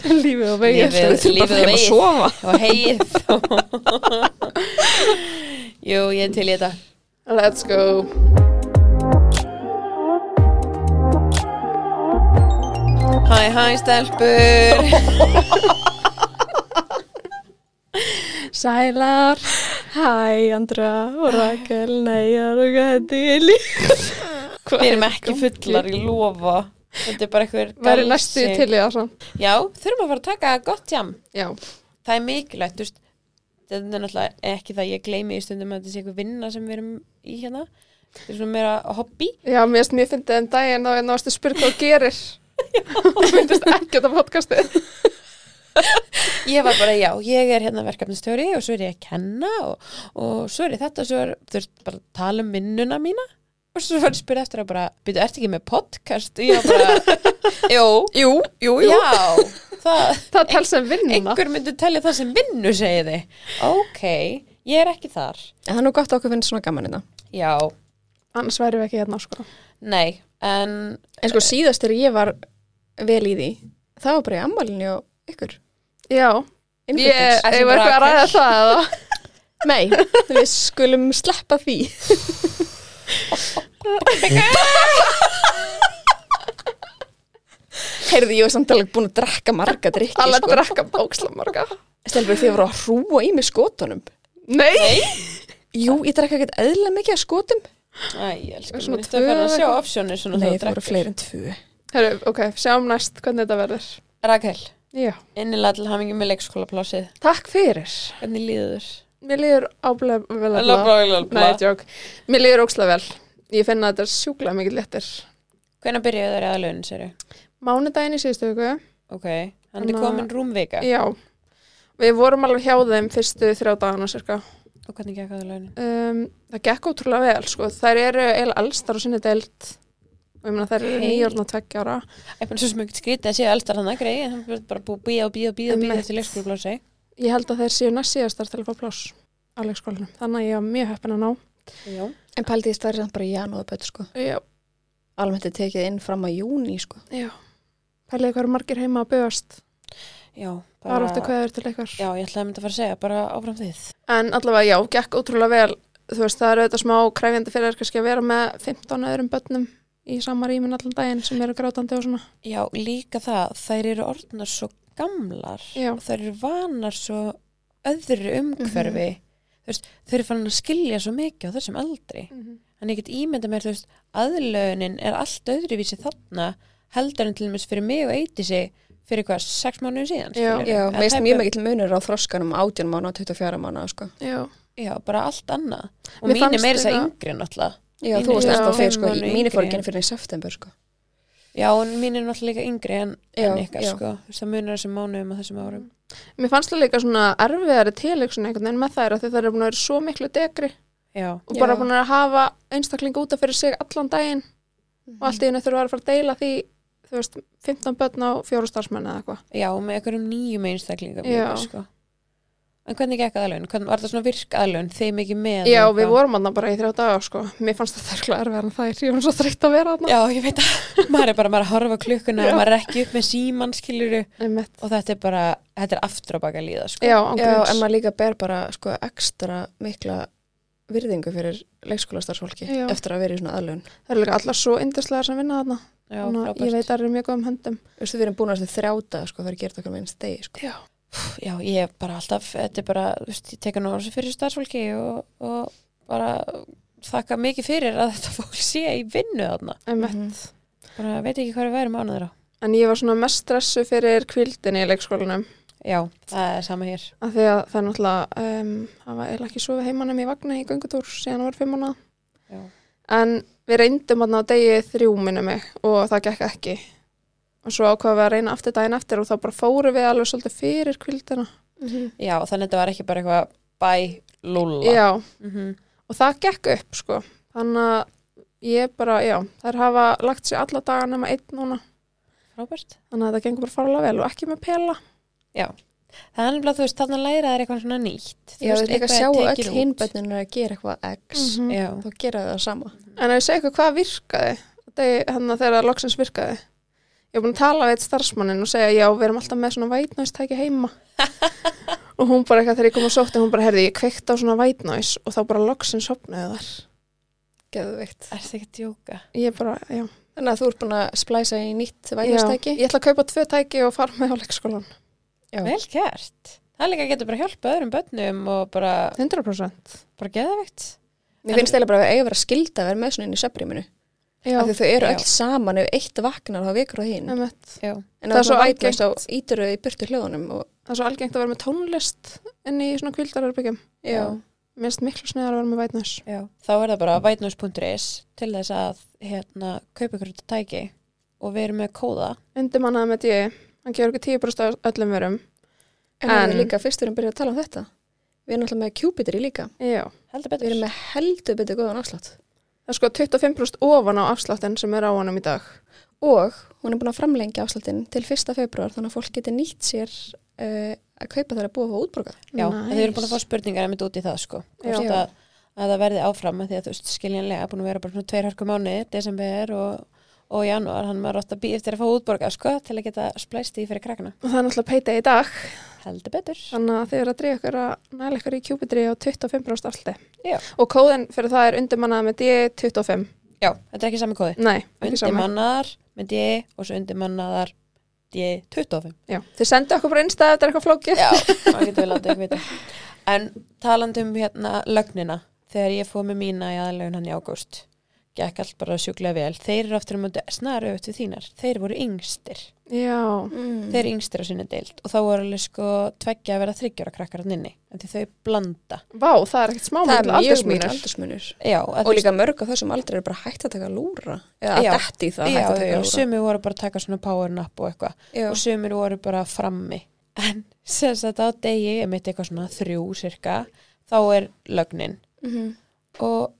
[SPEAKER 3] Lífið og vegið
[SPEAKER 1] Lífið. Lífið
[SPEAKER 2] Bara
[SPEAKER 1] og
[SPEAKER 2] fyrir að
[SPEAKER 1] vegið.
[SPEAKER 2] sofa.
[SPEAKER 1] og heið <laughs> jú, ég er til í þetta
[SPEAKER 3] Let's go
[SPEAKER 1] hæ, hæ, stelpur
[SPEAKER 2] Sælar. Hæ, Andra og Rakel. Nei, ég er okkar hætti í líf.
[SPEAKER 1] Við erum ekki fullar, ég lofa Þetta er bara einhver
[SPEAKER 3] Væri næstu
[SPEAKER 1] galsi.
[SPEAKER 3] til í það samt
[SPEAKER 1] Já, þurfum að fara að taka gott jam
[SPEAKER 3] Já,
[SPEAKER 1] Það er mikilvægt, þú veist Þetta er náttúrulega ekki það að ég gleymi í stundum að þetta sé eitthvað vinna sem við erum í hérna Þetta er svona meira hobby
[SPEAKER 3] já mér finnst mjög fyndið en daginn og en ástu spyrk hvað þú
[SPEAKER 2] <laughs>
[SPEAKER 3] gerir Það myndist ekki þetta podcastið
[SPEAKER 1] Ég var bara, já, ég er hérna verkefnistjóri og svo er ég að kenna og, og svo er ég þetta og svo er, þú veist, bara að tala um vinnuna mína og svo var ég spyrð eftir að bara, byrju, ertu ekki með podcast? Og ég var bara, jú,
[SPEAKER 2] Jú, jú, jú.
[SPEAKER 1] já, það
[SPEAKER 3] Það tals sem vinna
[SPEAKER 1] einhver myndi telja það sem vinnu segi þið ok, ég er ekki þar
[SPEAKER 2] En það er nú gott að okkur finnst svona gaman hérna. þetta.
[SPEAKER 1] já,
[SPEAKER 3] Annars væri við ekki hérna sko
[SPEAKER 1] nei en
[SPEAKER 2] En sko síðast þegar ég var vel í því, það var bara í ammalinu og ykkur.
[SPEAKER 3] Já, ég
[SPEAKER 2] Innflutnings.
[SPEAKER 1] Ætli
[SPEAKER 3] ég var eitthvað að
[SPEAKER 1] bara
[SPEAKER 3] ræða það
[SPEAKER 2] <laughs>
[SPEAKER 3] eða
[SPEAKER 2] Nei, við skulum sleppa því. Heyrðu, ég var samt alveg búin að drekka marga drikki,
[SPEAKER 3] Alla
[SPEAKER 2] sko.
[SPEAKER 3] drakka bóksla morga
[SPEAKER 2] Stelbur, þið voru að hrúa í mig skotunum.
[SPEAKER 3] Nei,
[SPEAKER 2] Jú, ég drekka ekkert eðla mikið af skotum.
[SPEAKER 1] æ, ég elsku,
[SPEAKER 3] Svona
[SPEAKER 1] mér þetta að fara að
[SPEAKER 3] tvö
[SPEAKER 1] sjá
[SPEAKER 3] eða
[SPEAKER 1] opsjónu svona
[SPEAKER 2] Nei,
[SPEAKER 1] þegar
[SPEAKER 2] það
[SPEAKER 1] þú
[SPEAKER 2] voru
[SPEAKER 1] drekkur.
[SPEAKER 2] fleiri en tvö.
[SPEAKER 3] Heru, ok, sjáum næst hvernig þetta verður
[SPEAKER 1] Rakel,
[SPEAKER 3] Já,
[SPEAKER 1] innilega til hamingi með leikskólaplásið
[SPEAKER 3] takk fyrir
[SPEAKER 1] hvernig líður þér?
[SPEAKER 3] Mér líður áblega vel að
[SPEAKER 1] Bla, bla, bla, bla.
[SPEAKER 3] Nei, tjók Mér líður óksla vel Ég finn að þetta er sjúklega mikið léttir
[SPEAKER 1] hvenær byrjuðu þær eða laun, séru?
[SPEAKER 3] Mánudaginn í síðustu viku
[SPEAKER 1] ok, hann er
[SPEAKER 3] Þannig að-
[SPEAKER 1] komin rúmvika
[SPEAKER 3] Já, við vorum alveg hjá þeim fyrstu þrjá dagana cirka.
[SPEAKER 1] og hvernig gekk að það launin?
[SPEAKER 3] Um, það gekk ótrúlega vel, sko. Þær eru eiginlega elstar á sinni deild og ég meina þær eru
[SPEAKER 1] Hey.
[SPEAKER 3] nýjórn og tveggja ára.
[SPEAKER 1] ég finnst svo sem ekki skrítið að séu elstar þannig að greið hann er bara búið að bíða og bíða og bíða og bíða
[SPEAKER 3] Einmitt.
[SPEAKER 1] eftir leikskólaplásið
[SPEAKER 3] Ég held að þær séu næst síðastar til að fá pláss á leikskólanum. Þannig að ég var mjög heppin að ná.
[SPEAKER 1] já,
[SPEAKER 2] En pældi ég stærði samt bara í janúðabötu, sko.
[SPEAKER 3] Já,
[SPEAKER 2] Almennt er tekið inn fram að júni, sko.
[SPEAKER 3] já. Pæliði hvað eru margir heima að byggast.
[SPEAKER 1] já,
[SPEAKER 3] Það eru ofta kveður til ykkar.
[SPEAKER 1] já, ég ætlaði að mynda að fara að segja, bara áfram þið
[SPEAKER 3] En allavega, já, gekk ótrúlega vel. Þú veist, það eru auðvitað smá kræfjandi fyrir þær kannski að vera með 15 öðrum börnum í sama rýmin allan daginn sem eru grátandi og svona.
[SPEAKER 1] Já, líka það, þær eru orðnar svo gamlar
[SPEAKER 3] Já.
[SPEAKER 1] og þær eru vanar svo öðru umhverfi
[SPEAKER 2] Mhm.
[SPEAKER 1] þú veist, þau eru farin að skilja svo mikið á þessum aldri
[SPEAKER 3] Mhm.
[SPEAKER 1] en ég get ímynda mér, þú veist, aðlögunin er allt öðruvísi þarna heldur en til dæmis fyrir mig og eiti sig fyrir hvað, sex mánuðum síðan
[SPEAKER 3] Já.
[SPEAKER 1] skilurðu?
[SPEAKER 2] Já,
[SPEAKER 1] Eða
[SPEAKER 2] meðist
[SPEAKER 1] tæpum-
[SPEAKER 2] mjög mikill munur á þroskanum 18 mánu og 24 mánu, sko.
[SPEAKER 3] Já.
[SPEAKER 1] Já, bara allt annað og
[SPEAKER 3] Mér
[SPEAKER 1] mín er
[SPEAKER 3] fannst
[SPEAKER 1] meira þess að
[SPEAKER 3] eitthvað-
[SPEAKER 1] yngri náttúrulega
[SPEAKER 2] Já,
[SPEAKER 1] Mín
[SPEAKER 2] þú
[SPEAKER 1] er
[SPEAKER 2] varst
[SPEAKER 3] fimm
[SPEAKER 2] alltaf fyrir, sko,
[SPEAKER 1] mánuði
[SPEAKER 2] í-
[SPEAKER 1] yngri
[SPEAKER 2] mín er fór
[SPEAKER 1] en-
[SPEAKER 2] ekki fyrir í september, sko.
[SPEAKER 1] Já, en mín er náttúrulega líka yngri en,
[SPEAKER 2] Já,
[SPEAKER 1] en ykkar,
[SPEAKER 2] já.
[SPEAKER 1] sko. Þú veist, það munar þessum mánuðum og þessum árum.
[SPEAKER 3] Mér fannst það líka svona erfiðari tilöksun einhvern veginn með það er að það er búin að vera svo miklu degri
[SPEAKER 1] Já,
[SPEAKER 3] og bara
[SPEAKER 2] Já.
[SPEAKER 3] búin að hafa einstakling útaf fyrir sig allan daginn og allt í henni þurfa að fara að deila því þú veist, 15 börn á fjóru starfsmenn eða eitthvað.
[SPEAKER 1] já, og með einhverjum nýjum einstaklingum
[SPEAKER 3] Já.
[SPEAKER 1] líka, sko. En hvernig gekk aðlun? Hvernig var það svona virk aðlun? Þeim ekki með?
[SPEAKER 3] Já,
[SPEAKER 1] eða
[SPEAKER 3] við
[SPEAKER 1] hvað?
[SPEAKER 3] vorum aðna bara í þrjá daga sko. Mér fannst það þærkla erfiðar en þær, ég var svo þreytt að vera aðna.
[SPEAKER 1] Já, ég veit að <laughs> maður er bara maður er að horfa á klukkuna
[SPEAKER 3] Já.
[SPEAKER 1] og maður er ekki upp með símannskiluru
[SPEAKER 3] Einmitt.
[SPEAKER 1] og þetta er bara, þetta er aftur á baka líða, sko.
[SPEAKER 3] Já, án
[SPEAKER 2] Já, en
[SPEAKER 3] gríns.
[SPEAKER 2] maður líka ber bara, sko, ekstra mikla virðingu fyrir leikskólastarfsfólki
[SPEAKER 3] Já.
[SPEAKER 2] eftir að vera í svona aðlun.
[SPEAKER 3] Það eru líka allar svo yndislegar sem vinna þarna.
[SPEAKER 1] Já,
[SPEAKER 3] Þannig að
[SPEAKER 1] frábært.
[SPEAKER 3] ég veit að það eru mjög góðum höndum.
[SPEAKER 2] Þú veist, við erum búin að þessu þrjáta, sko, það er gert okkur með einn stegi, sko.
[SPEAKER 3] Já.
[SPEAKER 1] Já, ég er bara alltaf, þetta er bara, þú veist, ég teka nú þessu fyrir starfsfólki og, og bara þakka mikið fyrir að þetta <laughs> fólk sé í vinnu þarna.
[SPEAKER 3] Einmitt.
[SPEAKER 2] Mhm.
[SPEAKER 1] Bara veit ekki hvað við værum ánæður á.
[SPEAKER 3] En ég var svona mest stressu fyrir kvildin í leikskólanum.
[SPEAKER 1] Já, það er sama hér.
[SPEAKER 3] Af því að það er náttúrulega, um, það var eiginlega ekki sofið heimanum í vagnu í göngutúr síðan það var fimm mánuða.
[SPEAKER 1] Já.
[SPEAKER 3] En við reyndum aðna á degi þrjú minni mig og það gekk ekki. Og svo ákvaðum við að reyna aftur daginn eftir og þá bara fórum við alveg svolítið fyrir kvildina. Mhm.
[SPEAKER 1] Já, þannig að þetta var ekki bara eitthvað bæ lúlla.
[SPEAKER 3] Já,
[SPEAKER 1] Mm
[SPEAKER 2] Mhm.
[SPEAKER 3] og það gekk upp sko. Þannig að ég bara, já, þær hafa lagt sér alla daga nema einn núna.
[SPEAKER 1] Robert?
[SPEAKER 3] Þannig að það gengur bara farlega vel og ekki með pela.
[SPEAKER 1] Það er nefnilega, þú veist, þannig að læra þær eitthvað svona nýtt. Þú
[SPEAKER 2] Já, við líka
[SPEAKER 1] eitthvað
[SPEAKER 2] sjáu
[SPEAKER 1] er
[SPEAKER 2] öll
[SPEAKER 1] tekið út. Mm.
[SPEAKER 2] hinbönninu að gera eitthvað X,
[SPEAKER 1] Já,
[SPEAKER 3] Mhm.
[SPEAKER 2] þá gera þau það sama.
[SPEAKER 3] En ef ég segi eitthvað hvað virkaði, þannig að þegar það loksins virkaði. Ég var búin að tala við eitt starfsmannin og segja, já, við erum alltaf með svona white noise
[SPEAKER 2] <laughs>
[SPEAKER 3] tæki heima. og hún bara eitthvað, þegar ég kom og sótti, hún bara, herði, ég kveikt á svona white noise og þá bara loksins sopnaði þar.
[SPEAKER 2] Geðveikt.
[SPEAKER 1] er þetta ekki að djóka?
[SPEAKER 3] Ég bara, já.
[SPEAKER 2] Þannig að þú ert búin að splæsa í nýtt
[SPEAKER 3] Já,
[SPEAKER 2] vægnastæki.
[SPEAKER 3] Ég ætla að kaupa tvö tæki og fara með á leikskólan.
[SPEAKER 2] Já.
[SPEAKER 1] Vel gert. Það líka getur bara hjálpa öðrum börnum og bara,
[SPEAKER 3] 100%.
[SPEAKER 1] bara geðveikt.
[SPEAKER 2] Mér finnst þeirlega bara að eiga að vera skilda að vera með svona inn í söpriminu.
[SPEAKER 3] Já,
[SPEAKER 2] Af því þau eru
[SPEAKER 1] Já.
[SPEAKER 2] öll saman, ef eitt vagnar þá vekur það hinn.
[SPEAKER 3] emmitt.
[SPEAKER 1] Já.
[SPEAKER 2] En
[SPEAKER 3] það
[SPEAKER 2] það
[SPEAKER 3] er
[SPEAKER 2] er
[SPEAKER 3] svo
[SPEAKER 2] svona vægnast á
[SPEAKER 3] algengt.
[SPEAKER 2] ítöruð í burtu hljóðunum og
[SPEAKER 3] Það er svo algengt að vera með tónlist inn í svona kvildararbyggjum.
[SPEAKER 1] Já.
[SPEAKER 3] Minnst miklu sniðar að vera með white noise.
[SPEAKER 1] Já, þá er það bara whitenoise.is til þess að hérna, kaupa ykkur þetta tæki og við erum með kóða.
[SPEAKER 3] Undir mannaði með ég, hann gefur ekki 10% af öllum verum.
[SPEAKER 2] En það er
[SPEAKER 3] En-
[SPEAKER 2] líka fyrst við erum byrjað að tala um þetta. Við erum alltaf með kjúpitri líka.
[SPEAKER 3] Já.
[SPEAKER 1] Heldur
[SPEAKER 2] Við
[SPEAKER 1] betur.
[SPEAKER 2] erum með heldur betur góðan afslátt.
[SPEAKER 3] Það er sko 25% ofan á afsláttinn sem er á honum í dag.
[SPEAKER 2] Og hún er búin að framlengja afsláttinn til 1. februar þannig að fólk getur nýtt sér uh, að kaupa þeirra búið og útborgað.
[SPEAKER 1] Já, nice. þið eru búin að fá spurningar einmitt út í það sko.
[SPEAKER 3] Já.
[SPEAKER 1] Hvort Að, að það verði áfram af því að þú veist skiljanlega búin að vera bara svona tveir hörku mánu, desember og, og janúar, hann maður átt að býja eftir að fá útborga sko til að geta splæst í fyrir krakkana.
[SPEAKER 3] Og það er náttúrulega payday í dag,
[SPEAKER 1] Heldur betur.
[SPEAKER 3] þannig að þið eru að dreyja ykkur að næla ykkur í kjúpitri á 25% afslátti.
[SPEAKER 1] Já.
[SPEAKER 3] Og kóðin fyrir það er undirmannað með D25.
[SPEAKER 1] Já, þetta er ekki sami kóði.
[SPEAKER 3] Nei, ekki saman.
[SPEAKER 1] Undirmannaðar með D og svo undirmannaðar D25.
[SPEAKER 3] Já. Þið sendu okkur bara einstað eftir eitthvað flókið.
[SPEAKER 1] Já, það getur við látið ekki vita. En talandi um hérna lögnina, þegar ég fóð með mína í aðalögun hann í ágúst, gekk allt bara sjúklega vel. Þeir eru aftur um að snara auðvitað við þínar. Þeir voru yngstir.
[SPEAKER 3] Já.
[SPEAKER 2] Mm.
[SPEAKER 1] Þeir eru yngstir á sinni deild og þá voru alveg sko tveggja að vera þryggjara krakkar hann inni. En því þau blanda.
[SPEAKER 3] Vá, það er ekkert smá
[SPEAKER 2] það er
[SPEAKER 3] miklu
[SPEAKER 2] mjög mjög
[SPEAKER 3] aldursmunur.
[SPEAKER 2] aldursmunur.
[SPEAKER 1] Já, sko- að
[SPEAKER 2] Og
[SPEAKER 1] þú-
[SPEAKER 2] líka mörg af þessum aldrei eru bara hægt að taka lúra. Eða
[SPEAKER 1] Já.
[SPEAKER 2] að detti það
[SPEAKER 1] já,
[SPEAKER 2] hægt að
[SPEAKER 1] já,
[SPEAKER 2] taka
[SPEAKER 1] já,
[SPEAKER 2] lúra.
[SPEAKER 1] sumi voru bara að taka svona power nap og eitthvað.
[SPEAKER 2] Já.
[SPEAKER 1] og sumir voru bara frammi en <laughs> sem sagt á degi ég mitt eitthvað svona þrjú cirka þá er lögnin
[SPEAKER 2] Mhm.
[SPEAKER 1] og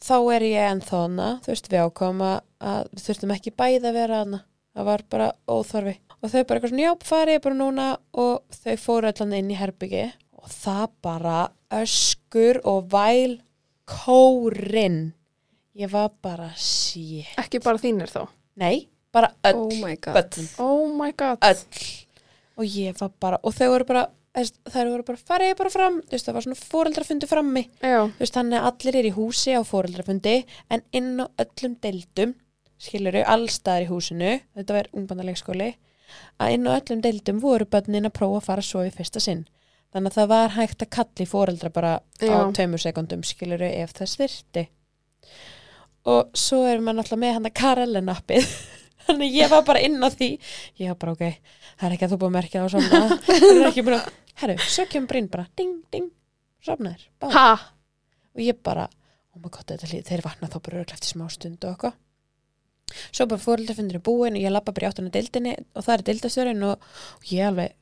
[SPEAKER 1] þá er ég ennþá hana þú veist við ákvæm að, að við þurftum ekki bæði að vera hana það var bara óþorfi og þau bara eitthvað svona já farið bara núna og þau fóru allan inn í herbyggi og það bara öskur og væl kórin ég var bara sí
[SPEAKER 3] Ekki bara þínir þá.
[SPEAKER 1] nei, bara öll
[SPEAKER 2] Oh my god.
[SPEAKER 1] börn
[SPEAKER 3] Oh my god.
[SPEAKER 1] öll og ég var bara, og þau voru bara þau voru bara, farið bara fram þú veist, það var svona fóreldrafundi frammi
[SPEAKER 3] Já.
[SPEAKER 1] þú veist, þannig að allir er í húsi á fóreldrafundi en inn á öllum deildum skiluru, allstaðar í húsinu þetta var ungbandarleikskóli að inn á öllum deildum voru börnin að prófa að fara að sofa í fyrsta sinn þannig að það var hægt að kalli fóreldra bara á
[SPEAKER 3] Já.
[SPEAKER 1] tveimur sekundum skiluru ef þess virti og svo erum við náttúrulega með hann að Karelinappið <laughs> þannig að ég var bara inn á því ég var bara ok, það er ekki að þú búið að merkja það og sofna það er ekki búin að, herru, svo kemur brinn bara ding, ding, sofnaður, bá
[SPEAKER 3] Ha?
[SPEAKER 1] og ég bara, oh my god, þetta hlýð, þeir vakna þá bara örugglega eftir smá stund og eitthvað svo bara fóreldrafundur er búin og ég labba bara í áttuna deildinni og það er deildastjörinn og, og ég alveg,